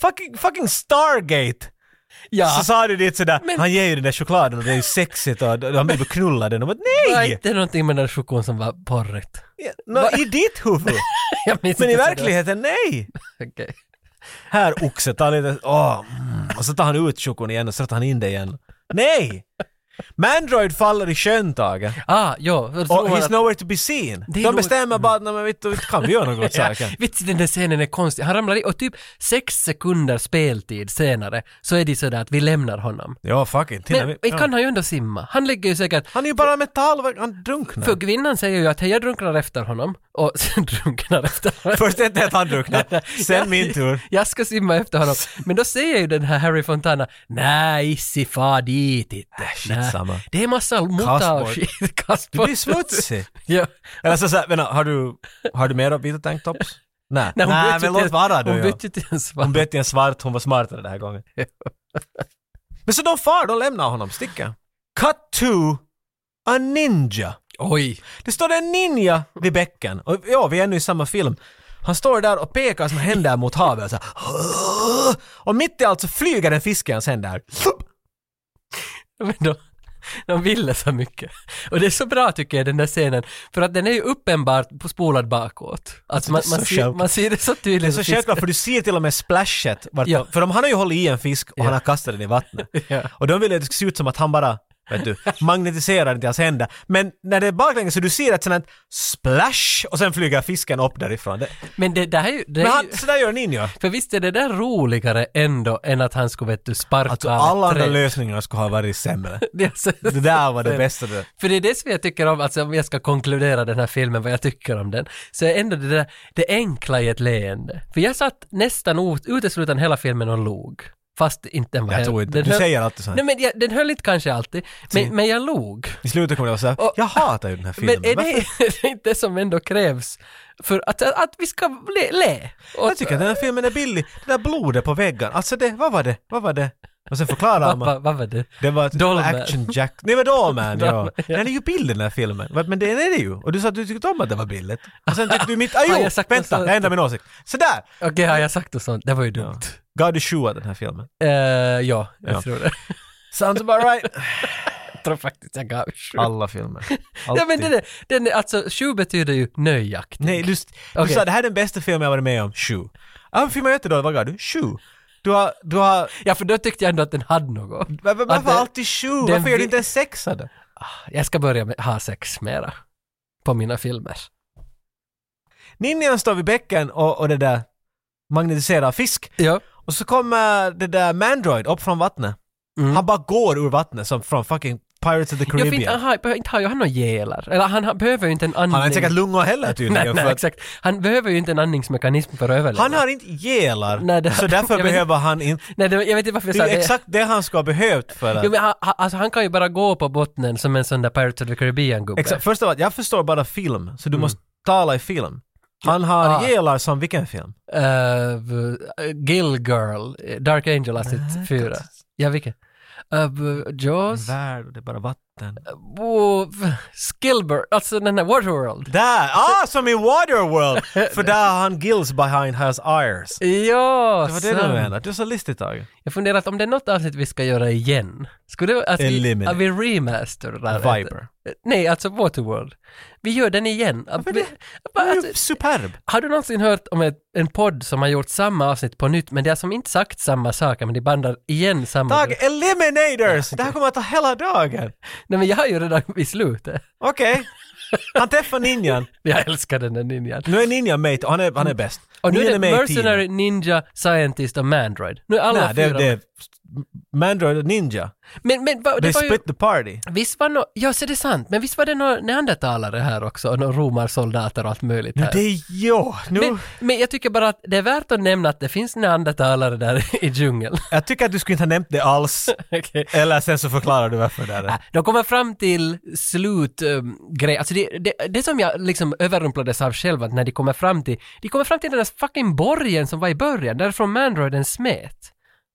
B: Fucking, fucking Stargate!
A: ja.
B: Så sa du dit sådär,
A: Men-
B: han ger ju den där chokladen och det är ju sexigt och han blir beknullad. Och bara,
A: Det var
B: nej!
A: inte någonting med den chokon som var porrigt. [LAUGHS]
B: Nå, I ditt huvud!
A: Jag minns
B: Men i
A: inte så det-
B: verkligheten, nej!
A: Okej.
B: Här oxe, ta lite, åh, mm. och så tar han ut chokon igen och så tar han in det igen. Nej! Mandroid faller i sjön, Tage.
A: Ah, ja. jag
B: Och
A: tror
B: he's
A: att-
B: nowhere to be seen.
A: Det är
B: De
A: nog-
B: bestämmer bara att, "Nej, men vet du, kan vi göra något
A: [LAUGHS]
B: åt
A: Ja,
B: saken?
A: vits, den där scenen är konstig. Han ramlar i och typ sex sekunder speltid senare så är det sådär att vi lämnar honom.
B: Ja, fucking.
A: Men
B: Men,
A: kan
B: ja.
A: han ju ändå simma. Han ligger ju säkert...
B: Han är ju bara metall, han drunknar.
A: För kvinnan säger ju att hej, jag drunknar efter honom och [LAUGHS] sen drunknar efter honom.
B: Först är det att
A: [LAUGHS]
B: han drunknar, sen
A: Jag-
B: min tur.
A: [LAUGHS] Jag ska simma efter honom. Men då säger ju den här Harry Fontana, nej, Issi, far dit inte.
B: shit, Äh, Skitsamma.
A: Det är massa mutta och
B: Kastbord.
A: skit.
B: Du
A: Kastbord.
B: blir smutsig.
A: [LAUGHS] ja.
B: Eller så, så här, menar, har du, har du mer vita tanktops? Nej,
A: [LAUGHS] Nej, hon
B: Nej
A: bytte
B: men
A: till-
B: låt vara du.
A: Hon
B: ja.
A: bytte till en svart.
B: hon bytte till en svart, hon var smartare den här gången. [LAUGHS] Men så de far, de lämnar honom, sticker. Cut to a ninja.
A: Oj.
B: Det står en ninja vid bäcken. Och ja, vi är nu i samma film. Han står där och pekar som händer mot havet. Så här. [LAUGHS] Och mitt i allt så flyger en fisk i hans händer.
A: Men de, de ville så mycket. Och det är så bra tycker jag den där scenen, för att den är ju uppenbart på- spolad bakåt. Alltså man,
B: det är
A: man,
B: så
A: ser,
B: självklart.
A: man ser det så
B: Det
A: [LAUGHS]
B: är
A: tydligt.
B: så
A: att fisken-
B: självklart för du ser till och med splashet. Vart
A: Ja.
B: För de, han har ju hållit i en fisk och han har kastat den i vattnet.
A: [LAUGHS] Ja.
B: Och de ville att det skulle se ut som att han bara, vet du, magnetiserar den till hans händer. Men när det är baklänges så du ser ett sånt här splash och sen flyger fisken upp därifrån. Det,
A: Men det, det här är ju... Det är ju
B: men
A: Alltså,
B: han, så där gör ninjor.
A: för visst är det där roligare ändå än att han skulle vet du sparka
B: Alltså
A: av ett
B: alla andra
A: träd.
B: lösningar skulle ha varit sämre.
A: [LAUGHS] Det är så-
B: Det där var det bästa. Det.
A: För det är det som jag tycker om, alltså om jag ska konkludera den här filmen, vad jag tycker om den, så är ändå det där, det enkla i ett leende. För jag satt nästan ut- uteslutande hela filmen och log. Fast inte den var
B: Jag
A: hel-
B: tror inte.
A: den
B: Du
A: höll-
B: säger alltid så här.
A: Nej men jag, den höll inte kanske alltid, men, men jag log.
B: I slutet kommer det vara så här,
A: Och-
B: jag hatar ju den här filmen.
A: Men är
B: Varför?
A: det, [LAUGHS] är det inte det som ändå krävs för att, att, att vi ska le? le? Och,
B: Jag tycker att den här filmen är billig. Det där blodet på väggen, alltså det, vad var det? Vad var det? Och sen förklarar
A: vad,
B: man.
A: vad, vad var det?
B: Det var ett
A: Dollman.
B: action jack... Nej men Dollman, ja.
A: Dollman, ja.
B: Den är ju billig den här filmen. Va- Men det är det ju. Och du sa att du tyckte om att det var billigt. Och sen tyckte
A: [LAUGHS]
B: du mitt... Ah,
A: Har
B: jo,
A: jag sagt något
B: vänta,
A: sånt?
B: jag ändrar min åsikt. Sådär!
A: Okej, har jag sagt något sånt? Det var ju dumt.
B: God shoa den här filmen.
A: Eh, ja, jag
B: Ja.
A: tror det. [LAUGHS]
B: Sounds about right.
A: Jag tror faktiskt jag gav sju.
B: Alla filmer.
A: Ja men
B: Alltid.
A: den är, den är, alltså sju betyder ju nöjaktig.
B: Nej, du, du
A: Okej.
B: sa det här är den bästa filmen jag varit med om. Sju. Ja, filmen är jättedålig. Vad gav du? Sju. Du har... Du har...
A: Ja för då tyckte jag ändå att den hade något.
B: va- va-
A: Att
B: Varför
A: det-
B: alltid sju?
A: den
B: Varför gör
A: vi-
B: du inte en sexa då?
A: Jag ska börja med ha sex mera. På mina filmer.
B: Ninjan står vid bäcken och, och det där magnetiserar fisk.
A: Ja.
B: Och så kommer det där Mandroid upp från vattnet.
A: Mm.
B: Han bara går ur vattnet som från fucking Pirates of the
A: Jag fin,
B: Caribbean.
A: aha, inte har ju han några gelar. Eller han har, behöver ju inte en andning.
B: han har inte säkert lungor heller
A: Nej,
B: tydligen.
A: nej
B: för att
A: exakt. Han behöver ju inte en andningsmekanism för att överleva.
B: han har inte gelar,
A: Nej, det- [LAUGHS]
B: så därför
A: jag vet-
B: behöver han inte...
A: Nej, det, jag vet inte varför jag
B: Det
A: sa det.
B: är exakt det han ska ha behövt för att...
A: Jo, men han, han- alltså, han kan ju bara gå på botten som en sån där Pirates of the Caribbean-gubbe.
B: Exakt, först av allt, jag förstår bara film, så du måste tala i film. Han har
A: Mm. Ah.
B: gelar som vilken film?
A: Eh, v- Gill Girl, eh, Dark Angel avsnitt 4. Ja, vilken? Eh, v- Jaws?
B: Värld, och det är bara vatten.
A: Oh, v- Skilbert, alltså den här Waterworld.
B: Där! Ah, som
A: [LAUGHS]
B: i Waterworld! för där har han gills behind his eyes.
A: Ja,
B: Det var det du
A: sant.
B: menade, du är så listig Tage.
A: Jag funderar att om det är något avsnitt vi ska göra igen. Skulle det, att vi,
B: Eliminate.
A: att vi remasterar
B: Viper.
A: Nej, alltså Waterworld. Vi gör den igen. Att vi-
B: Det
A: att-
B: är ju superb!
A: Har du någonsin hört om ett, en podd som har gjort samma avsnitt på nytt, men det är som inte sagt samma saker, men de bandar igen samma...
B: Dag, eliminators! Det här kommer att ta hela dagen.
A: Nej men jag har ju redan i slutet. [LAUGHS]
B: Okej. Han träffar ninjan.
A: Jag älskar den där ninjan.
B: Nu är ninjan med och han är, han är bäst.
A: Och nu är det
B: med i
A: Mercenary,
B: teamet.
A: Ninja, Scientist och Mandroid. Nu är alla
B: Nej, det,
A: fyra...
B: det är Mandroid och Ninja.
A: Men, men va,
B: They
A: det var ju...
B: split the party.
A: Visst var nå... Ja, så det är sant. Men visst var det några neandertalare här också? Och några romarsoldater och allt möjligt här.
B: Det är ja, nu...
A: men, men jag tycker bara att det är värt att nämna att det finns neandertalare där [LAUGHS] i djungeln.
B: Jag tycker att du skulle inte ha nämnt
A: [LAUGHS]
B: det alls.
A: Okej.
B: Eller sen så förklarar du varför det är det.
A: Nej, De kommer fram till slutgrej, alltså det, det, det som jag liksom överrumplades av själv att när de kommer fram till, de kommer fram till den där fucking borgen som var i början, därifrån Manroiden smet.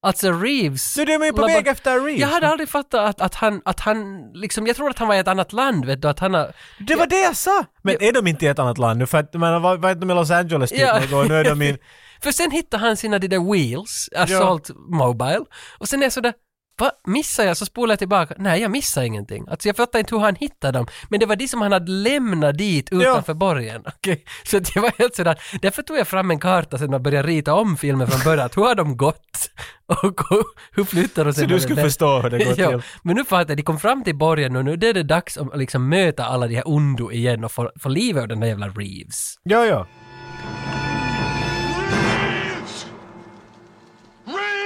A: Alltså Reeves.
B: Så de är ju på
A: labor-
B: väg efter Reeves.
A: Jag hade aldrig fattat att, att han, att han liksom, jag tror att han var i ett annat land vet du, att han har...
B: Det var det jag sa! Men är de inte i ett annat land nu? För att, men, vad vad är de i Los Angeles typ
A: Ja.
B: någon gång? Nu är de i...
A: [LAUGHS] För sen hittar han sina de där wheels, Assault Mobile, och sen är jag sådär Va? Missar jag så spolar jag tillbaka. Nej, jag missar ingenting. Alltså jag fattar inte hur han hittade dem. Men det var de som han hade lämnat dit utanför borgen. [LAUGHS] Okej, Så det var helt sådär. Därför tog jag fram en karta sen och började rita om filmen från början. Att hur har de gått? [LAUGHS] Och hur, hur flyttar de sig?
B: Så du skulle förstå hur det
A: [LAUGHS]
B: går
A: ja,
B: till.
A: Men nu fattar jag, de kom fram till borgen och nu är det dags att liksom möta alla de här ondo igen och få, få liv ur den där jävla Reeves.
B: Ja, ja.
F: Reeves! Reeves!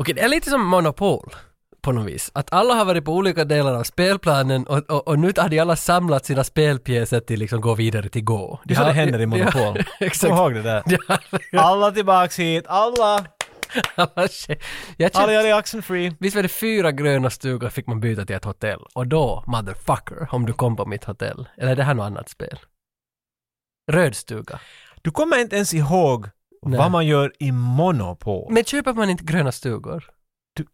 A: Okej, det är lite som Monopol på något vis. Att alla har varit på olika delar av spelplanen och, och, och nu hade alla samlat sina spelpjäser till liksom gå vidare till gå.
B: Det är så
A: har- [LAUGHS]
B: det händer i Monopol.
A: Ja,
B: Kom
A: exakt.
B: ihåg det där. Alla tillbaks hit, alla!
A: Alla shit. jag
B: Ali
A: kände,
B: Ali Oxenfree.
A: visst var det fyra gröna stugor fick man byta till ett hotell? Och då, motherfucker, om du kom på mitt hotell. Eller är det här något annat spel? Röd stuga.
B: Du kommer inte ens ihåg
A: Nej.
B: vad man gör i Monopol.
A: Men köper man inte gröna stugor?
B: Du-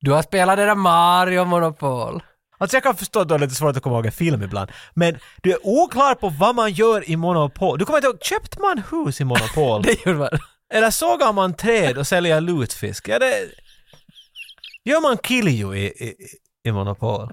A: Du har spelat det där Mario Monopol. [LAUGHS]
B: Alltså jag kan förstå att det är lite svårt att komma ihåg en film ibland, men du är oklar på vad man gör i Monopol. Du kommer inte ihåg, köpte man hus i Monopol?
A: [LAUGHS] Det gjorde man.
B: Eller sågar man träd och säljer lutfisk? Ja, det... Gör man kiljo i, i, i Monopol?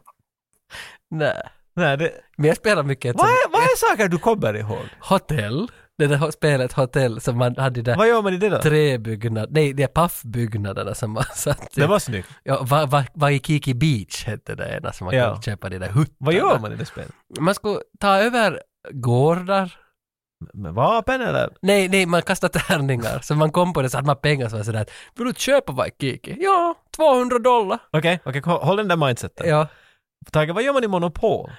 A: Nej.
B: Nej, det...
A: Men jag spelar mycket ett
B: vad,
A: sånt-
B: är, vad är saker du kommer ihåg?
A: hotell. Det där ho- spelet Hotell som man hade där
B: Vad gör man i det då?
A: träbyggnad, nej det är paffbyggnaderna som man satt i.
B: Det var snyggt.
A: Ja, va, va, Waikiki Beach hette det ena som man
B: Ja.
A: kunde köpa de där huttarna.
B: Vad gör man i det spelet?
A: Man skulle ta över gårdar.
B: Med vapen eller?
A: Nej, nej, man kastade tärningar. Så man kom på det så hade man pengar så var det sådär att, vill du köpa Waikiki? Ja, 200 dollar.
B: Okej, okej, hå- håll den där mindseten.
A: Ja, Alltså-
B: Tage, vad gör man i Monopol?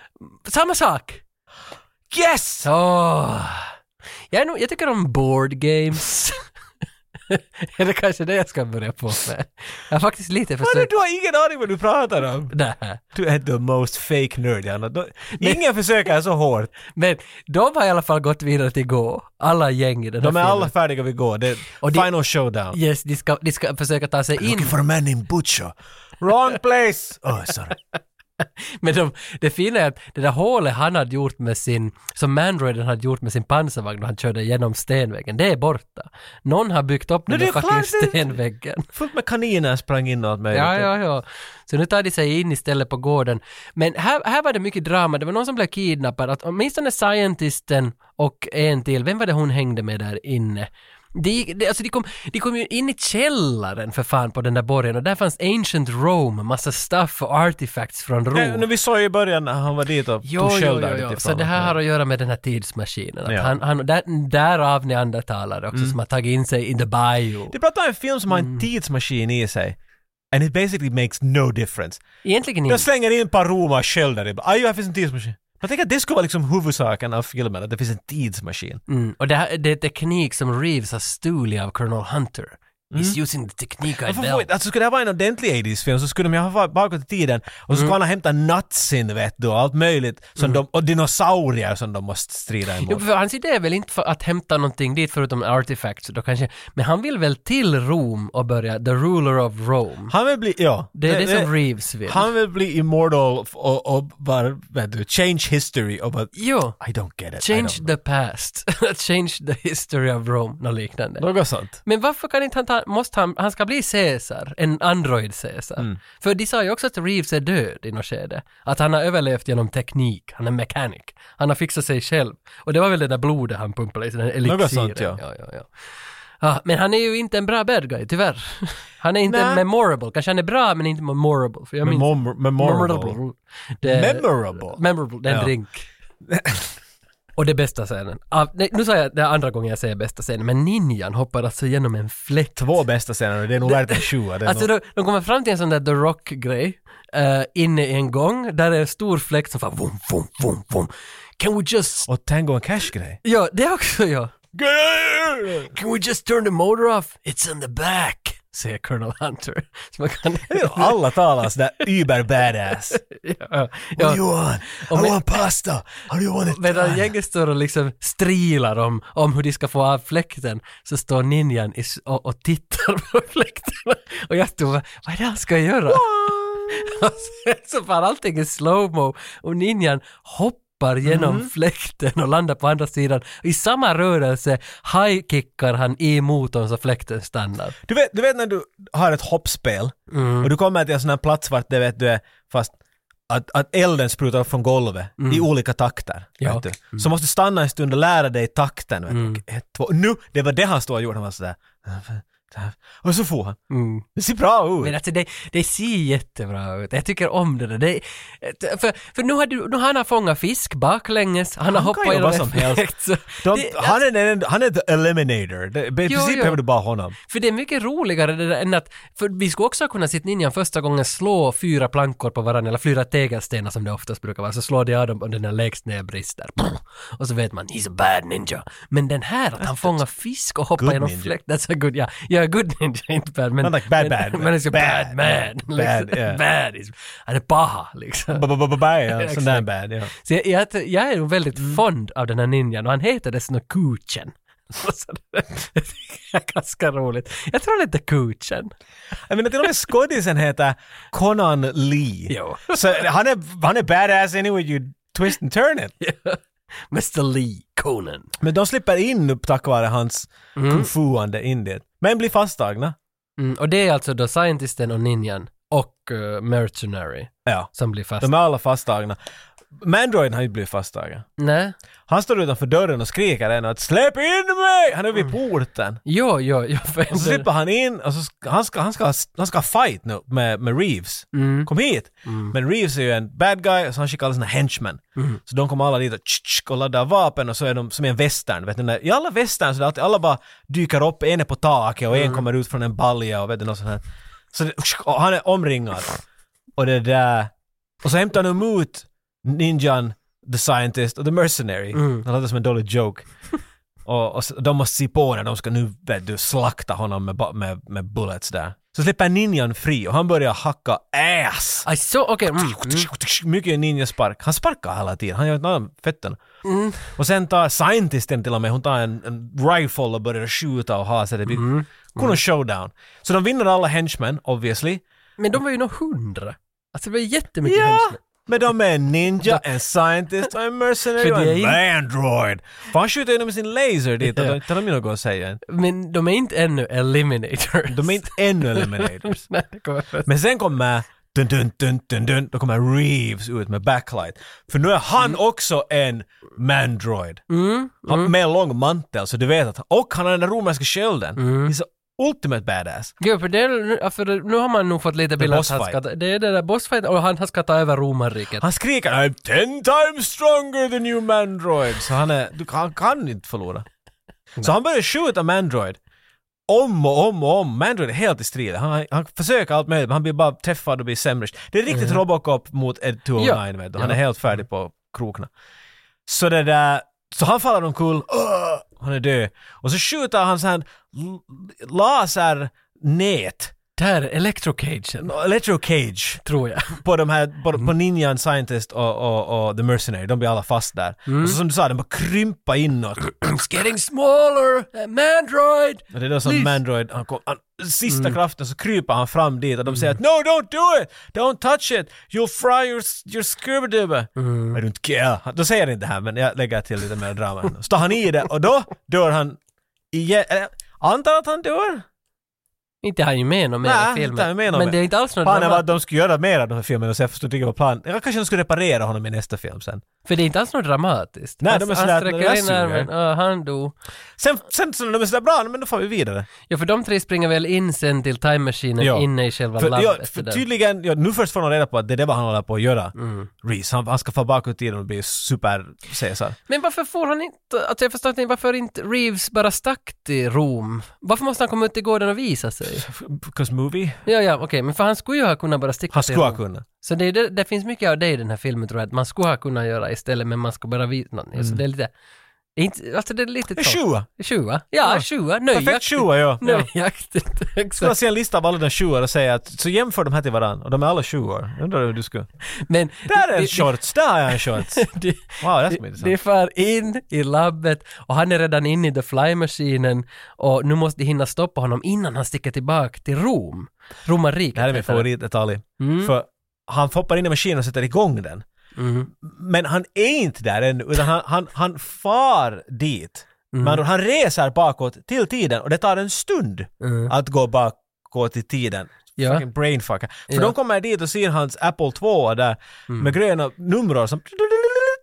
A: samma sak.
B: Yes!
A: Åh. Jag, är nog, jag tycker om board games. [LAUGHS] är det kanske det jag ska börja på med? Jag har faktiskt lite
B: Vadå,
A: försökt...
B: du har ingen aning vad du pratar om!
A: Nej.
B: Du är the most fake nerd, Janna. Då- Ingen försöker så hårt.
A: Men de har i alla fall gått vidare till gå, alla gäng i den här
B: De är alla
A: filmen.
B: färdiga vid gå. Det är
A: Och det-
B: final showdown.
A: Yes, de ska, de ska försöka ta sig in.
B: a man named Butcher. Wrong place! Oh, sorry.
A: Men de, det fina är att det där hålet han hade gjort med sin, som Mandroiden hade gjort med sin pansarvagn när han körde genom stenväggen, det är borta. Någon har byggt upp den
B: Men
A: där
B: det är klart
A: fucking
B: det-
A: stenväggen.
B: Fullt med kaniner sprang in och allt möjligt.
A: Ja, ja, ja. Så nu tar de sig in istället på gården. Men här, här var det mycket drama. Det var någon som blev kidnappad. Att, åtminstone scientisten och en till. Vem var det hon hängde med där inne? De, de, alltså de, kom, de kom ju in i källaren för fan på den där borgen och där fanns Ancient Rome, massa stuff och artifacts från Rom.
B: Nej, Eh, nu, vi såg ju i början när han var dit och
A: Jo,
B: tog
A: jo,
B: sköldar
A: jo, jo.
B: lite
A: Så det här har att göra med den här tidsmaskinen. Att
B: Ja.
A: han, han, där, därav neandertalare också som har tagit in sig in the bio.
B: De pratar om en film som har en tidsmaskin i sig. And it basically makes no difference.
A: Egentligen
B: Jag
A: inte.
B: slänger in ett par roma sköldar i... Aj, här finns en tidsmaskin. Jag tänker att det skulle vara liksom huvudsaken av filmen, att det finns en tidsmaskin.
A: Mm. Och det, här, det är teknik som Reeves har stulit av Colonel Hunter. He's using the technique I
B: Mm. Varför får
A: developed.
B: inte- Alltså skulle det här vara en ordentlig 80s-film så skulle de ju ha varit bakåt i tiden och så
A: Mm.
B: skulle han ha hämtat nattsin vet du och allt möjligt som de, och dinosaurier som de måste strida
A: Jo,
B: emot.
A: för hans idé är väl inte för att hämta någonting dit förutom artifacts då kanske, men han vill väl till Rom och börja the ruler of Rome.
B: Han vill bli, ja.
A: Det är det, som Reeves vill.
B: Han vill bli immortal f- och, och bara, vet du, change history och bara,
A: Jo,
B: I don't get it. I
A: change
B: don't-
A: the past, [LAUGHS] change the history of Rome, något liknande.
B: Något sånt.
A: Men varför kan inte han ta, måste han, han ska bli Caesar, en android Caesar.
B: Mm.
A: För de sa ju också att Reeves är död i något skede. Att han har överlevt genom teknik, han är mechanic. Han har fixat sig själv. Och det var väl det där blodet han pumpade i, den där elixiren.
B: Något sånt, ja.
A: Ja, ja, ja. Ja, men han är ju inte en bra bad guy, tyvärr. [LAUGHS] Han är inte
B: Nej.
A: memorable. Kanske han är bra, men inte memorable. För jag minns...
B: Memor- memorable.
A: Memorable. Det-
B: Memorable.
A: Memorable, det är en
B: Ja.
A: drink. Och det bästa scenen. Ah, nej, nu sa jag det är andra gången jag säger bästa scenen, men ninjan hoppar alltså genom en fläkt.
B: Två bästa scener och det är nog värt en sjua. det är
A: Alltså
B: nog-
A: de, de kommer fram till en sån där The Rock-grej, eh, inne i en gång, där är en stor fläkt som far vum, vum, vum, vum. Can we just...
B: Och Tango and Cash-grej.
A: Ja, det också ja. Can we just turn the motor off? It's in the back, säger Colonel Hunter. Så man kan...
B: Alla
A: [LAUGHS]
B: talar sådär über badass.
A: ja,
B: What do
A: ja.
B: you want?
A: Och
B: I
A: med-
B: want pasta! How do you want it?
A: Medan
B: done?
A: gänget står och liksom strilar om, om hur de ska få av fläkten, så står ninjan i, s- och, och tittar på [LAUGHS] fläkten. Och jag stod och bara, vad är det han ska göra? [LAUGHS] Och sen så far allting i slowmo och ninjan hoppar genom fläkten och landar på andra sidan. I samma rörelse high-kickar han i motorn så fläkten stannar.
B: Du vet, du vet när du har ett hoppspel och du kommer till en sån här plats vart det vet du är fast att, att elden sprutar upp från golvet i olika takter.
A: Ja.
B: Vet du. Så måste du stanna en stund och lära dig takten. Vet du. Okej, Ett, två. Nu! Det var det han stod och gjorde. Han var sådär. Och så får han. Det ser bra
A: Men
B: ut.
A: alltså det, det ser jättebra ut. Jag tycker om det där. Det, för, för nu har du, nu har han fångat fisk baklänges, han, har
B: kan
A: hoppat
B: göra
A: genom
B: vad
A: en
B: som helst.
A: fläkt, så
B: De,
A: det-
B: han, är den, han är the eliminator. Det, I princip
A: jo.
B: behöver du bara honom.
A: För det är mycket roligare det där än att, för vi skulle också kunna sitta ninjan första gången slå fyra plankor på varandra, eller fyra tegelstenar som det oftast brukar vara, så slår de av dem och den är lägst ner brister. Och så vet man, he's a bad ninja. Men den här, att han fångar fisk och hoppar
B: good
A: genom
B: ninja.
A: fläkt, that's a good, ja, ja, är good ninja, inte bad. Men,
B: Not like bad,
A: men,
B: bad,
A: men it's a bad,
B: bad.
A: man.
B: Bad,
A: liksom.
B: yeah.
A: [LAUGHS] bad is, han är paha liksom. [LAUGHS]
B: Ba-ba-ba-ba-ba, ja.
A: Exakt.
B: Sån där bad, ja.
A: Så jag, jag, jag är nog väldigt
B: Mm.
A: fond av den här ninjan och han heter dessutom Kuchen. [LAUGHS] Så det är ganska roligt. Jag tror han heter Kuchen.
B: Jag menar till och med skådisen heter Conan Lee.
A: Jo.
B: Så han är, han är badass anyway you twist and turn it.
A: Mr Lee Conan.
B: Men de slipper in upp tack vare hans kung-fuande in det. Men blir fasttagna.
A: Mm, och det är alltså då scientisten och ninjan och eh, mercenary
B: Ja.
A: som blir fast.
B: De är alla fasttagna. Mandroid har ju blivit fasttagen.
A: Nej?
B: Han står utanför dörren och skriker ännu att ”Släpp in mig!” Han är vid porten.
A: Jo, jo, jo. för-
B: [LAUGHS] Och så slipper han in och så ska, han, ska, han, ska, han ska fight nu med, med Reeves. Kom hit! Men Reeves är ju en bad guy så han skickar alla sina henchmen. Så de kommer alla dit och, tsk, tsk, och laddar vapen och så är de som i en western. Vet ni, när- I alla western så är det alltid alla bara dyker upp, en är på taket och en kommer ut från en balja och vet du något sånt här. Så det, och han är omringad. Och det där... Och så hämtar han emot ninjan, the scientist och the mercenary. Det låter som en dålig joke. Och, och så- de måste se på när de ska nu vet du, slakta honom med, ba- med, med bullets där. Så släpper ninjan fri och han börjar hacka ass!
A: Aj, så, okej. mm, mm.
B: Mycket ninjaspark. Han sparkar hela tiden, han gör inte annat med fötterna. Och sen tar scientisten till och med, hon tar en, en rifle och börjar skjuta och ha så det blir... Kuno showdown. Så de vinner alla henchmen, obviously.
A: Men de var ju nog hundra. Alltså det var jättemycket
B: Ja,
A: henchmen.
B: men de är
A: [LAUGHS]
B: en ninja, en scientist och en mercenary
A: För
B: och
A: det är
B: en
A: inte-
B: android. För han skjuter ju dem med sin laser dit och
A: Ja.
B: då tar de ju något att säga.
A: Men de är inte ännu eliminators.
B: De är inte ännu eliminators.
A: [LAUGHS] Nej, det kommer först.
B: Men sen kommer dun, dun, dun, dun, dun, då kommer Reeves ut med backlight. För nu är han
A: Mm.
B: också en mandroid. Han, med lång mantel så du vet att, och han har den där romerska skölden.
A: Mm.
B: He's a ultimate badass.
A: Jo, för, det, är- för nu har man nog fått lite bilder att han ska,
B: bossfight.
A: det är det där bossfighten och han ska ta över romarriket.
B: Han skriker I'm ten times stronger than you mandroid. Så han, är, du, han kan inte förlora. Så han börjar skjuta mandroid. Om och om och om. Mandroid är helt i strid. Han, han försöker allt möjligt men han blir bara träffad och blir sämre. Det är riktigt Robocop mot Ed 209 vet du. Han är
A: Ja.
B: helt färdig på krokarna. Så det där... Så han faller omkull. Ugh! Han är död. Och så skjuter han så här l- lasernät.
A: Där, electrocagen,
B: Electro cage
A: tror
B: [CLEARS THROAT]
A: jag.
B: på de här, på,
A: Mm.
B: på Ninjan Scientist och, och, och The Mercenary, de blir alla fast där.
A: Mm.
B: Och så som du sa, de bara krympa inåt.
A: It's getting smaller, mandroid!
B: Och det är då som
A: Please. Mm.
B: Mandroid, han kom, han, sista kraften så kryper han fram dit och de säger att No, don't do it! Don't touch it! You'll fry your, your scuba
A: Mm.
B: I don't care. Han- Då säger han inte det här, men jag lägger till lite mer drama. Så tar han i det och då dör han igen. Eller, Antar att han dör?
A: Inte han ju med någon mer i
B: Nej,
A: filmen.
B: inte han med någon
A: men
B: mer.
A: det är inte alls något
B: Planen var
A: drama-
B: att de skulle göra mer av de här filmerna så jag förstod inte vad planen... Jag kanske de skulle reparera honom i nästa film sen.
A: För det är inte alls något dramatiskt.
B: Nej,
A: han,
B: de är
A: han
B: sådär att det
A: sträcker
B: där
A: in armen,
B: suger.
A: ja, han dog.
B: Sen, sen så när de är sådär bra, men då får vi vidare.
A: Ja, för de tre springer väl in sen till time maskinen
B: Ja.
A: inne i själva
B: För, ja,
A: labbet.
B: för
A: där. Mm.
B: tydligen, ja, nu först får man reda på att det är det vad han håller på att göra. Reese, han, han ska få bakåt i tiden och bli super-Caesar.
A: Men varför får han inte, alltså jag förstår inte varför inte Reeves bara stack till Rom? Varför måste han komma ut i gården och visa sig?
B: Because movie.
A: Ja, ja, okej, men för han skulle ju ha kunnat bara sticka
B: Han
A: till
B: skulle ha
A: Rom.
B: kunnat.
A: Så det, är det, det finns mycket av det i den här filmen tror jag, att man skulle ha kunnat göra istället, men man ska bara visa något.
B: Mm.
A: Så det är lite, inte, alltså det är lite
B: Det är
A: tråkigt.
B: sjua.
A: Sjua? Ja,
B: Ja.
A: sjua.
B: Perfekt
A: Nöjaktigt.
B: sjua, ja. ja.
A: Nöjaktigt.
B: Skulle ha
A: [LAUGHS] Exakt.
B: se en lista av alla de sjuor och säga att så jämför de här till varandra och de är alla sjuor. Jag Undrar hur du skulle...
A: Men
B: Där är en liksom.
A: det-
B: shorts! Där har jag en shorts!
A: [LAUGHS] det-
B: Wow, det är
A: de,
B: smidigt.
A: de far in i labbet och han är redan inne i the fly-maskinen och nu måste de hinna stoppa honom innan han sticker tillbaka till Rom. Romarriket.
B: Det här är min
A: heter
B: favoritdetalj.
A: Mm.
B: För han hoppar in i maskinen och sätter igång den.
A: Mm.
B: Men han är inte där ännu, utan han, han, han far dit.
A: Mm.
B: Men han reser bakåt till tiden och det tar en stund att gå bakåt i tiden.
A: Mm. Ja.
B: Fucking brainfucker. För
A: Ja. Mm.
B: de kommer dit och ser hans Apple 2 där med gröna numror som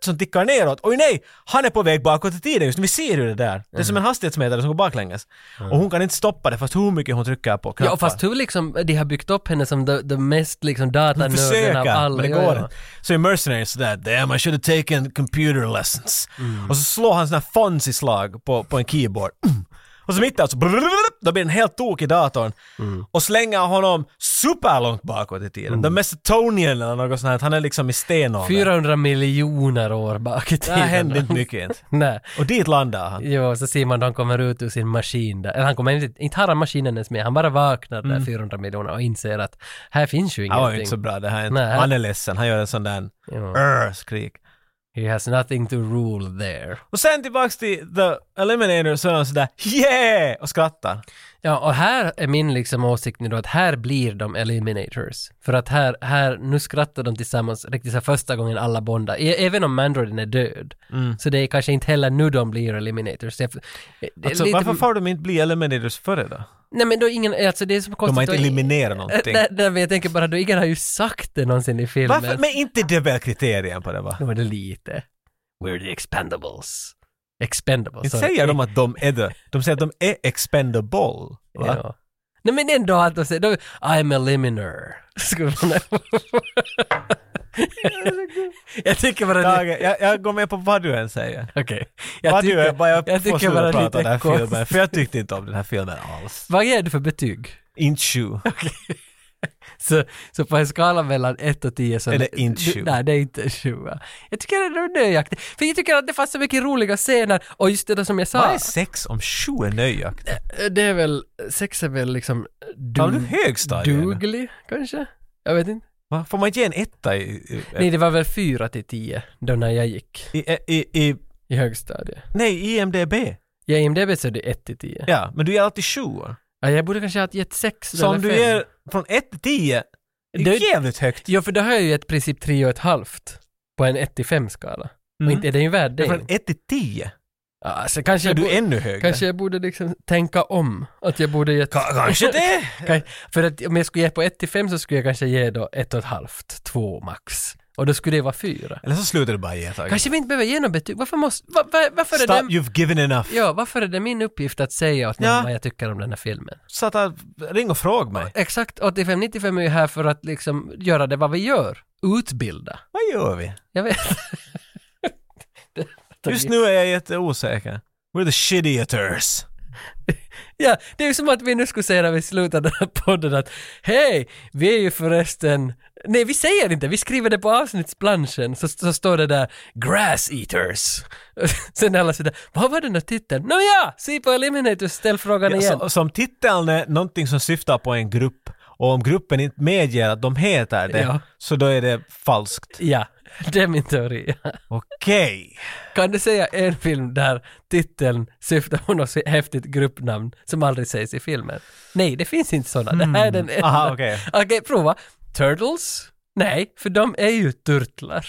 B: som tickar neråt. Oj nej! Han är på väg bakåt i tiden just nu. Vi ser ju det där. Det är
A: Mm.
B: som en hastighetsmätare som går baklänges. Och hon kan inte stoppa det fast hur mycket hon trycker på
A: Ja,
B: knappar.
A: fast hur liksom de har byggt upp henne som the, the mest liksom datanörden av
B: försöka,
A: alla.
B: men det
A: Ja,
B: går
A: ja.
B: inte. Så i Mercenaries sådär, damn I should have taken computer lessons. Och så slår han sådana fonzie-slag på, på en keyboard. Mm. Och så mitt i allt så blablabla, då blir den helt tokig i datorn och slänger honom superlångt bakåt i tiden. The Mesotonian eller något sånt här, han är liksom i stenåldern.
A: 400 miljoner år bak i
B: Det
A: tiden.
B: här hände inte mycket inte.
A: [LAUGHS] Nej.
B: Och dit landar han.
A: Jo, så ser man då han kommer ut ur sin maskin där. Eller han kommer inte, inte har han maskinen ens med, han bara vaknar där 400 miljoner och inser att här finns ju
B: Han var ju
A: ingenting.
B: inte så bra Mm. det här.
A: Nej.
B: Han är ledsen, han gör en sån där
A: Jo.
B: "Urgh", skrik.
A: He has nothing to rule there.
B: Och sen tillbaks till The Eliminator så är han sådär yeah! och skrattar.
A: Ja, och här är min liksom åsikt nu då att här blir de eliminators. För att här, här, nu skrattar de tillsammans riktigt så här första gången alla bondar. E- även om Mandroiden är död.
B: Mm.
A: Så det är kanske inte heller nu de blir eliminators. Det är, det är
B: Alltså,
A: lite,
B: Varför får de inte bli Eliminators före då?
A: Nej men då ingen, alltså det är så konstigt.
B: De har inte
A: att-
B: eliminerat
A: Äh,
B: någonting.
A: Nej, nej, men jag tänker bara då ingen har ju sagt det någonsin i filmen.
B: Varför? Men inte det är väl kriterien på det va?
A: Nu var det lite. We're the expendables. Expendables.
B: Inte
A: sorry.
B: säger de att de är det. De säger att de är expendable. Va?
A: Ja. Nej men ändå att de säger, då, I'm a liminer. Skulle man-
B: [LAUGHS]
A: jag tycker bara det...
B: Tage, jag, jag går med på vad du än säger.
A: Okej. Jag
B: vad du
A: tycker,
B: än, vad jag,
A: jag
B: får
A: tycker
B: sluta
A: bara
B: prata
A: lite
B: om den här filmen. För
A: konstigt.
B: jag tyckte inte om den här filmen alls.
A: Vad ger du för betyg?
B: Inte sju.
A: Så, så på en skala mellan 1 och 10 så...
B: Är det inte sju?
A: Nej, det är inte 7. Jag tycker det är nöjaktigt. För jag tycker att det fanns så mycket roliga scener och just det där som jag
B: Vad
A: sa.
B: är sex om sju är nöjaktigt?
A: Det är väl, sex är väl liksom... Du,
B: Har du högstadiet?
A: duglig, kanske? Jag vet inte.
B: Va? Får man inte ge en etta i, i,
A: Nej, det var väl 4 till 10 då när jag gick
B: i, i, i
A: i högstadiet.
B: Nej, IMDB.
A: Ja, IMDB så är det 1 till 10. Ja.
B: Ja, men du ger alltid sjuor.
A: jag borde kanske ha gett 6
B: Så
A: eller
B: om du
A: 5.
B: ger från 1 till 10, det
A: Det-
B: är jävligt högt.
A: Ja, för då har jag ju ett princip 3 och ett halvt på en 1 till 5-skala. Och
B: Mm.
A: inte är den ju värd
B: Men
A: det.
B: från 1 till 10
A: Alltså, kanske
B: är
A: jag
B: du
A: borde,
B: ännu högre.
A: kanske jag borde liksom tänka om. Att jag borde ge...
B: Ka- kanske
A: [LAUGHS]
B: det.
A: Kan- För att om jag skulle ge på 1 till 5 så skulle jag kanske ge då 1 och ett halvt, 2 max. Och då skulle det vara 4.
B: Eller så slutar du bara ge Tage.
A: Kanske vi inte behöver ge något betyg. Varför måste... Va, va, varför är
B: Stop,
A: det...
B: you've given enough.
A: Ja, varför är det min uppgift att säga åt någon
B: Ja.
A: vad jag tycker om den här filmen?
B: Så att, äh, ring och fråga mig.
A: Exakt, 85-95 är ju här för att liksom göra det vad vi gör. Utbilda.
B: Vad gör vi?
A: Jag vet.
B: [LAUGHS] Just nu är jag jätteosäker. We're the shittiators.
A: Ja, det är ju som att vi nu skulle säga när vi slutar den här podden att hej, vi är ju förresten... Nej, vi säger inte, vi skriver det på avsnittsplanschen så, så står det där Grass Eaters. [LAUGHS] Sen är alla sådär, vad var den där titeln? Nåja, se på Eliminators, ställ frågan igen.
B: Ja, så, som titeln är någonting som syftar på en grupp och om gruppen inte medger att de heter det
A: Ja.
B: så då är det falskt.
A: Ja, det är min teori.
B: Okej.
A: Kan du säga en film där titeln syftar på något häftigt gruppnamn som aldrig sägs i filmen? Nej, det finns inte sådana. Det här är den enda.
B: Hmm. Aha, okej.
A: Okej, prova. Turtles? Nej, för de är ju turtlar.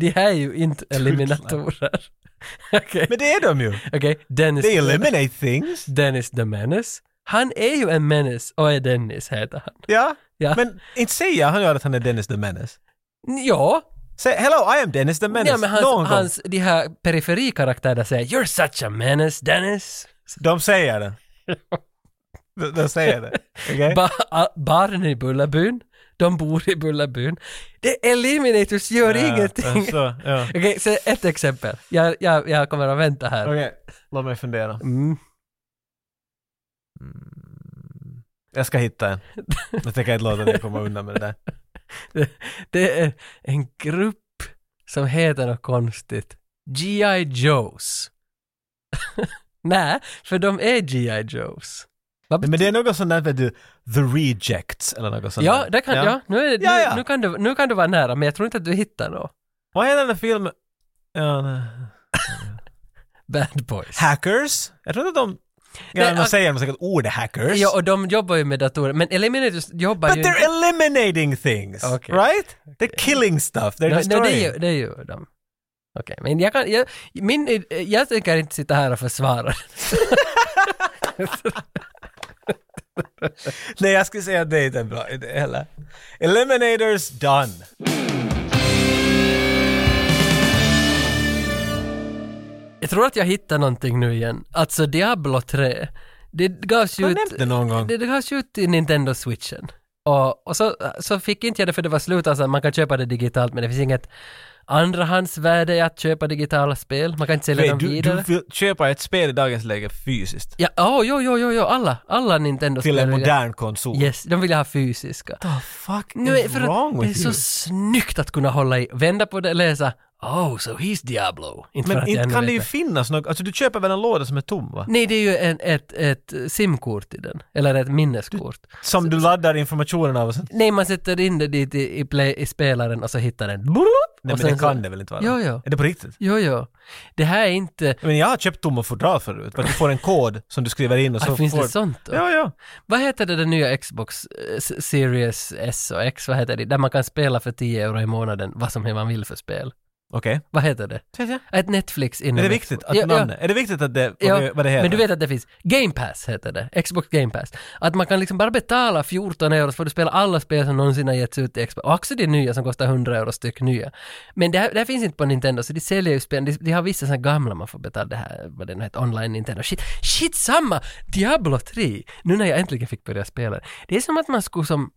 A: De här är ju inte eliminatorer. [LAUGHS] Okej,
B: Men det är de ju.
A: okej. Dennis...
B: They eliminate things.
A: Dennis the Menace. Han är ju en menace och är Dennis, heter han.
B: Ja.
A: Ja.
B: Men inte säger han ju att han är Dennis the Menace.
A: Ja,
B: Säg hello, I am Dennis the Menace.
A: ja men
B: Någon gång.
A: hans, hans, de här periferikaraktärerna säger “You're such a menace, Dennis”.
B: De
A: [LAUGHS]
B: säger det. De, de säger det. Okej?
A: Ba- a- barn i Bullabyn, de bor i Bullabyn. Det Eliminators gör
B: Ja, alltså.
A: ingenting.
B: Så, ja.
A: Okej, så ett exempel. Jag, jag, jag kommer att vänta här.
B: Okej, låt mig fundera.
A: Mm.
B: Jag ska hitta en. Jag tänker inte låta dig komma undan med det där.
A: Det är en grupp som heter något konstigt. G.I. Joes. [LAUGHS] Nej, för de är G.I. Joes. Vad
B: Men det är något sånt där, vet du, the rejects eller något sånt
A: Ja,
B: där.
A: där kan, ja. nu, är,
B: Ja, ja.
A: Nu, nu, kan du, nu kan du vara nära, men jag tror inte att du hittar något.
B: Vad heter den där filmen? Ja, nej.
A: Bad Boys.
B: hackers? Jag tror inte de... Ja,
A: Nej,
B: de
A: och-
B: säger de säkert ordet hackers.
A: Ja, och de jobbar ju med datorer, men Eliminators jobbar ju
B: But they're eliminating things,
A: Okej.
B: right? They're killing stuff, they're
A: Nej, nej,
B: destroying.
A: det, gör, det gör de. Okej, men jag kan, jag, min, jag tänker inte sitta här och försvara. [LAUGHS]
B: Nej, jag skulle säga att det inte är en bra idé heller. Eliminators done.
A: Jag tror att jag hittar någonting nu igen. Alltså Diablo 3. Det gavs
B: Har
A: ju
B: du
A: ut,
B: nämnt det någon gång?
A: det, det gavs ju ut i Nintendo switchen. Och, och så, så fick inte jag det för det var slut, alltså man kan köpa det digitalt men det finns inget Andrahandsvärde är att köpa digitala spel. Man kan inte sälja
B: Nej,
A: dem
B: du, du
A: vidare.
B: vill köpa ett spel i dagens läge fysiskt.
A: Ja, åh, jo, jo, jo, jo, alla, alla Nintendo-spel.
B: Till en
A: vill jag-
B: modern konsol.
A: Yes, de vill jag ha fysiska.
B: What the fuck
A: Nu är,
B: is
A: för
B: wrong
A: att det är
B: with
A: så
B: you?
A: snyggt att kunna hålla i, vända på det, läsa Oh, so he's Diablo. Inte för
B: Men
A: att jag
B: inte
A: ännu
B: kan
A: vet
B: det ju
A: det.
B: finnas något, alltså du köper väl en låda som är tom va?
A: Nej, det är ju en, ett, ett simkort i den. Eller ett minneskort.
B: Som du laddar informationen av och sen...
A: Nej, man sätter in det dit i, i, play, i spelaren och så hittar den.
B: Nej
A: och
B: men det
A: sen så-
B: kan det väl inte vara?
A: Jo, jo.
B: Är det på riktigt?
A: Jo, jo. Det här är inte...
B: Men jag har köpt tomma fodral förut, för att du får en kod som du skriver in och så
A: Ah, finns
B: får...
A: det sånt då?
B: Ja, ja.
A: Vad heter det, den nya Xbox eh, S- Series S och X, vad heter det? Där man kan spela för 10 euro i månaden vad som man vill för spel.
B: Okej.
A: Vad heter det? Ett Netflix inom
B: Är det
A: Xbox.
B: viktigt att
A: Ja, ja.
B: namnet... Är det viktigt att det...
A: Ja,
B: vad det heter?
A: men du vet att det finns. Game Pass heter det. Xbox Game Pass. Att man kan liksom bara betala 14 euro så får du spela alla spel som någonsin har getts ut i Xbox. Och också de nya som kostar 100 euro styck nya. Men det här, det här finns inte på Nintendo så de säljer ju spel. De, de har vissa sådana gamla man får betala det här, vad det nu heter, online Nintendo. Shit, shit samma! Diablo 3! Nu när jag äntligen fick börja spela. Det är som att man skulle som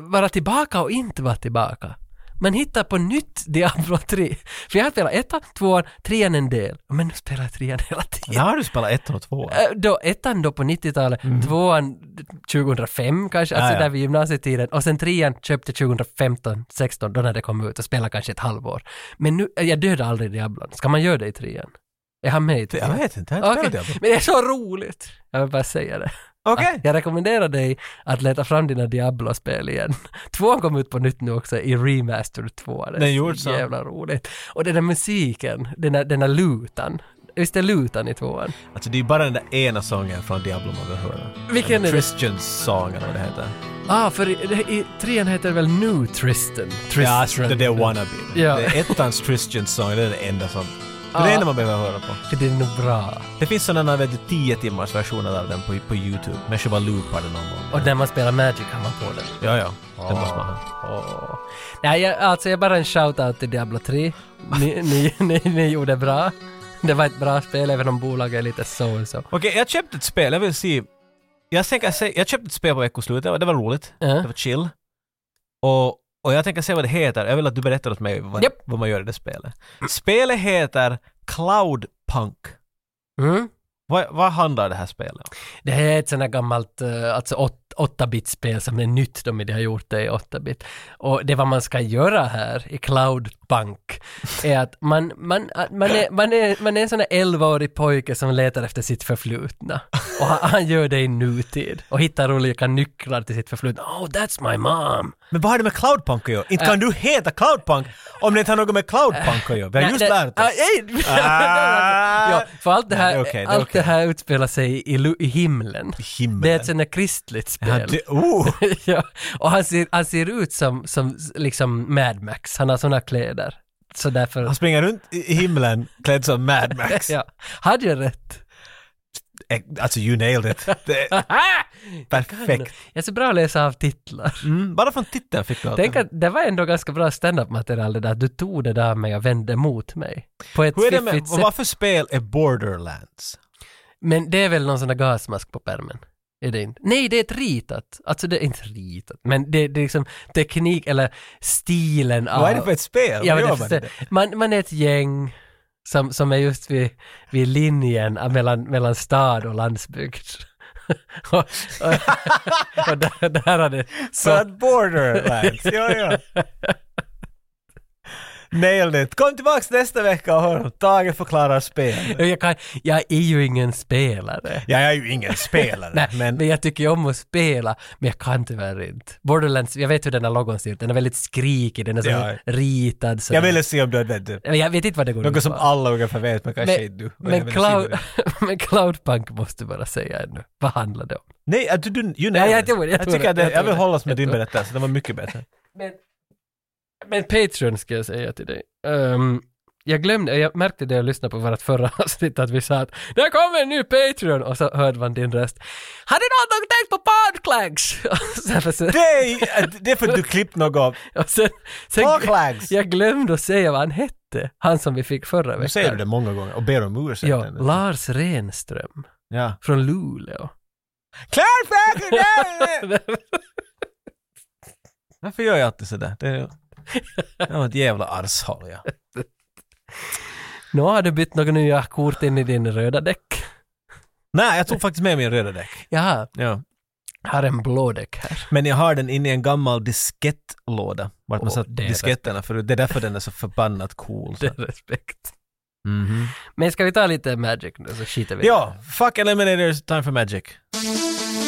A: vara tillbaka och inte vara tillbaka. Man hittar på nytt Diablo 3. För jag har spelat ettan, tvåan, trean en del. Men nu spelar jag trean hela tiden.
B: När har du spelat ettan och tvåan?
A: Äh, Då, ettan då på 90-talet, tvåan 2005 kanske, alltså
B: Mhm. Ah, Ja, ja.
A: där vid gymnasietiden och sen trean köpte 2015, 16 då när det kom ut och spelade kanske ett halvår. Men nu, äh, jag dödade aldrig Diablon. Ska man göra det i trean? Är han med i
B: Jag
A: trean?
B: vet inte, jag har inte
A: Okej,
B: spelat Diablo.
A: men det är så roligt! Jag vill bara säga det. Ah,
B: Okej.
A: Jag rekommenderar dig att leta fram dina Diablo-spel igen. [LAUGHS] Tvåan kom ut på nytt nu också i Remaster 2. Det är
B: Den gjorde
A: så
B: så.
A: jävla roligt. Och den där musiken, den där, den där lutan. Visst är lutan i tvåan?
B: Alltså det är ju bara den där ena sången från Diablo man vill höra.
A: Vilken är det?
B: Christians sång eller vad det heter.
A: Ah, för i, i, trean heter det väl nu Tristan? Tristan.
B: Ja, alltså, det är wannabe.
A: Ja.
B: Det är ettans Christians sång, det är det enda som... Det är
A: Ah.
B: det enda man behöver höra på.
A: För det är nog bra.
B: Det finns sådana, vet du, 10 timmars versioner av den på, på YouTube. Människor bara loopar den någon gång.
A: Och när man spelar Magic har man på den.
B: Ja, ja. Det måste man ha.
A: Åh. Nej, jag, alltså jag bara en shout-out till Diablo 3. Ni, ni, [LAUGHS] ni, ni gjorde bra. Det var ett bra spel även om bolaget är lite så och så.
B: Okej, jag köpte ett spel. Jag vill se... Jag, tänker, se- jag köpte ett spel på veckoslutet. och Det var roligt.
A: Ja.
B: Det var chill. Och, och jag tänker se vad det heter. Jag vill att du berättar åt mig vad,
A: Japp.
B: vad man gör i det spelet. Spelet heter Cloudpunk.
A: Mm.
B: Vad, vad handlar det här spelet om?
A: Det här är ett sånt här gammalt, eh, alltså åt- 8-bit-spel som är nytt, de de har gjort det i 8-bit. Och det vad man ska göra här i Cloud Bank är att man, man, att man, är, man, är, man är en sån här 11-årig pojke som letar efter sitt förflutna. Och han, han gör det i nutid och hittar olika nycklar till sitt förflutna. Oh, that's my mom!
B: Men vad har det med Cloudpunk att göra? Inte kan du heta Cloudpunk om det inte har något med Cloudpunk att göra. Vi har
A: Nej,
B: just
A: det-
B: lärt
A: Ah,
B: oss.
A: nej. [LAUGHS]
B: Ah.
A: ja, för allt det här,
B: Nej, det är okej, det är
A: allt
B: okej.
A: det här utspelar sig i, lu- i himlen.
B: Himmel.
A: Det är ett sånt här kristligt spel.
B: Ja, det, oh.
A: [LAUGHS] ja, och han ser, han ser ut som, som liksom Mad Max, han har såna kläder. Så därför...
B: Han springer runt i himlen klädd som Mad
A: [LAUGHS]
B: Max.
A: Ja, hade jag rätt?
B: Alltså, you nailed it.
A: [LAUGHS]
B: Det är perfekt.
A: Jag är så bra att läsa av titlar.
B: Mm, bara från titeln fick du allt
A: Tänk
B: det.
A: att det var ändå ganska bra stand-up material det där, du tog det där med och vände mot mig. På ett
B: Hur är det med,
A: fiffigt sätt.
B: varför spel är Borderlands?
A: Men det är väl någon sån där gasmask på pärmen? Är det inte? Nej, det är ett ritat. Alltså det är inte ritat, men det, det är liksom teknik eller stilen av...
B: Vad är det för ett spel?
A: Ja,
B: Vad
A: men
B: gör
A: det
B: man
A: förstår-
B: det?
A: man, man är ett gäng som, som är just vid, vid linjen eh, mellan, mellan stad och landsbygd. [LAUGHS] och och, och där, där har det...
B: Så att Borderlands, ja,
A: [LAUGHS]
B: ja. Nailed it. Kom tillbaks nästa vecka och hör om Tage förklarar spel.
A: jag, kan, jag är ju ingen spelare.
B: Jag är ju
A: [LAUGHS]
B: ingen
A: Nej,
B: spelare,
A: men...
B: men
A: jag tycker ju om att spela, men jag kan tyvärr inte. Borderlands, jag vet hur den här logon ser ut, den är väldigt skrikig, den är så
B: Ja.
A: ritad. Så
B: jag ville se om du hade du.
A: Men jag vet inte vad det går ut
B: Något som
A: på.
B: alla ungefär vet, men kanske inte du. Jag
A: men,
B: vill se
A: cloud,
B: det.
A: [LAUGHS] men Cloudpunk måste bara säga ännu. Vad handlar det om?
B: Nej, att du, du, you
A: Nej,
B: nailed
A: jag
B: it.
A: tror det, jag
B: jag
A: tror det,
B: tycker att det,
A: jag
B: jag,
A: tror
B: vill
A: det,
B: hålla mig
A: jag
B: med din
A: tror det.
B: berättelse, den var mycket bättre.
A: Men, men Patreon ska jag säga till dig. Ehm, jag glömde, jag märkte det jag lyssnade på vårt förra [LAUGHS] avsnitt att vi sa att där kommer en ny Patreon och så hörde man din röst. Har ni någon gång tänkt på Podclags? [LAUGHS] Och så- och så-
B: Det är, det är för att du klippt något av.
A: och sen, sen,
B: Podclags.
A: jag glömde att säga vad han hette, han som vi fick förra veckan.
B: Nu säger du det många gånger och ber om ursäkt.
A: Ja,
B: ännu.
A: Lars Renström
B: ja.
A: från Luleå.
B: Klart [LAUGHS] säkert! Varför gör jag alltid sådär? Det är... Det var ett jävla arshåll ja.
A: Nu har du bytt några nya kort in i din röda däck.
B: Nej, jag tog faktiskt med min röda däck.
A: Jaha,
B: Ja.
A: jag har en blå däck här.
B: Men jag har den inne i en gammal diskettlåda. Vart man
A: Åh,
B: satt
A: det är
B: disketterna förut. Det är därför den är så förbannat cool. Så.
A: Det Mhm. är respekt. Men ska vi ta lite Magic nu så skiter vi i
B: Ja, fuck eliminators, time for magic.
C: Magic.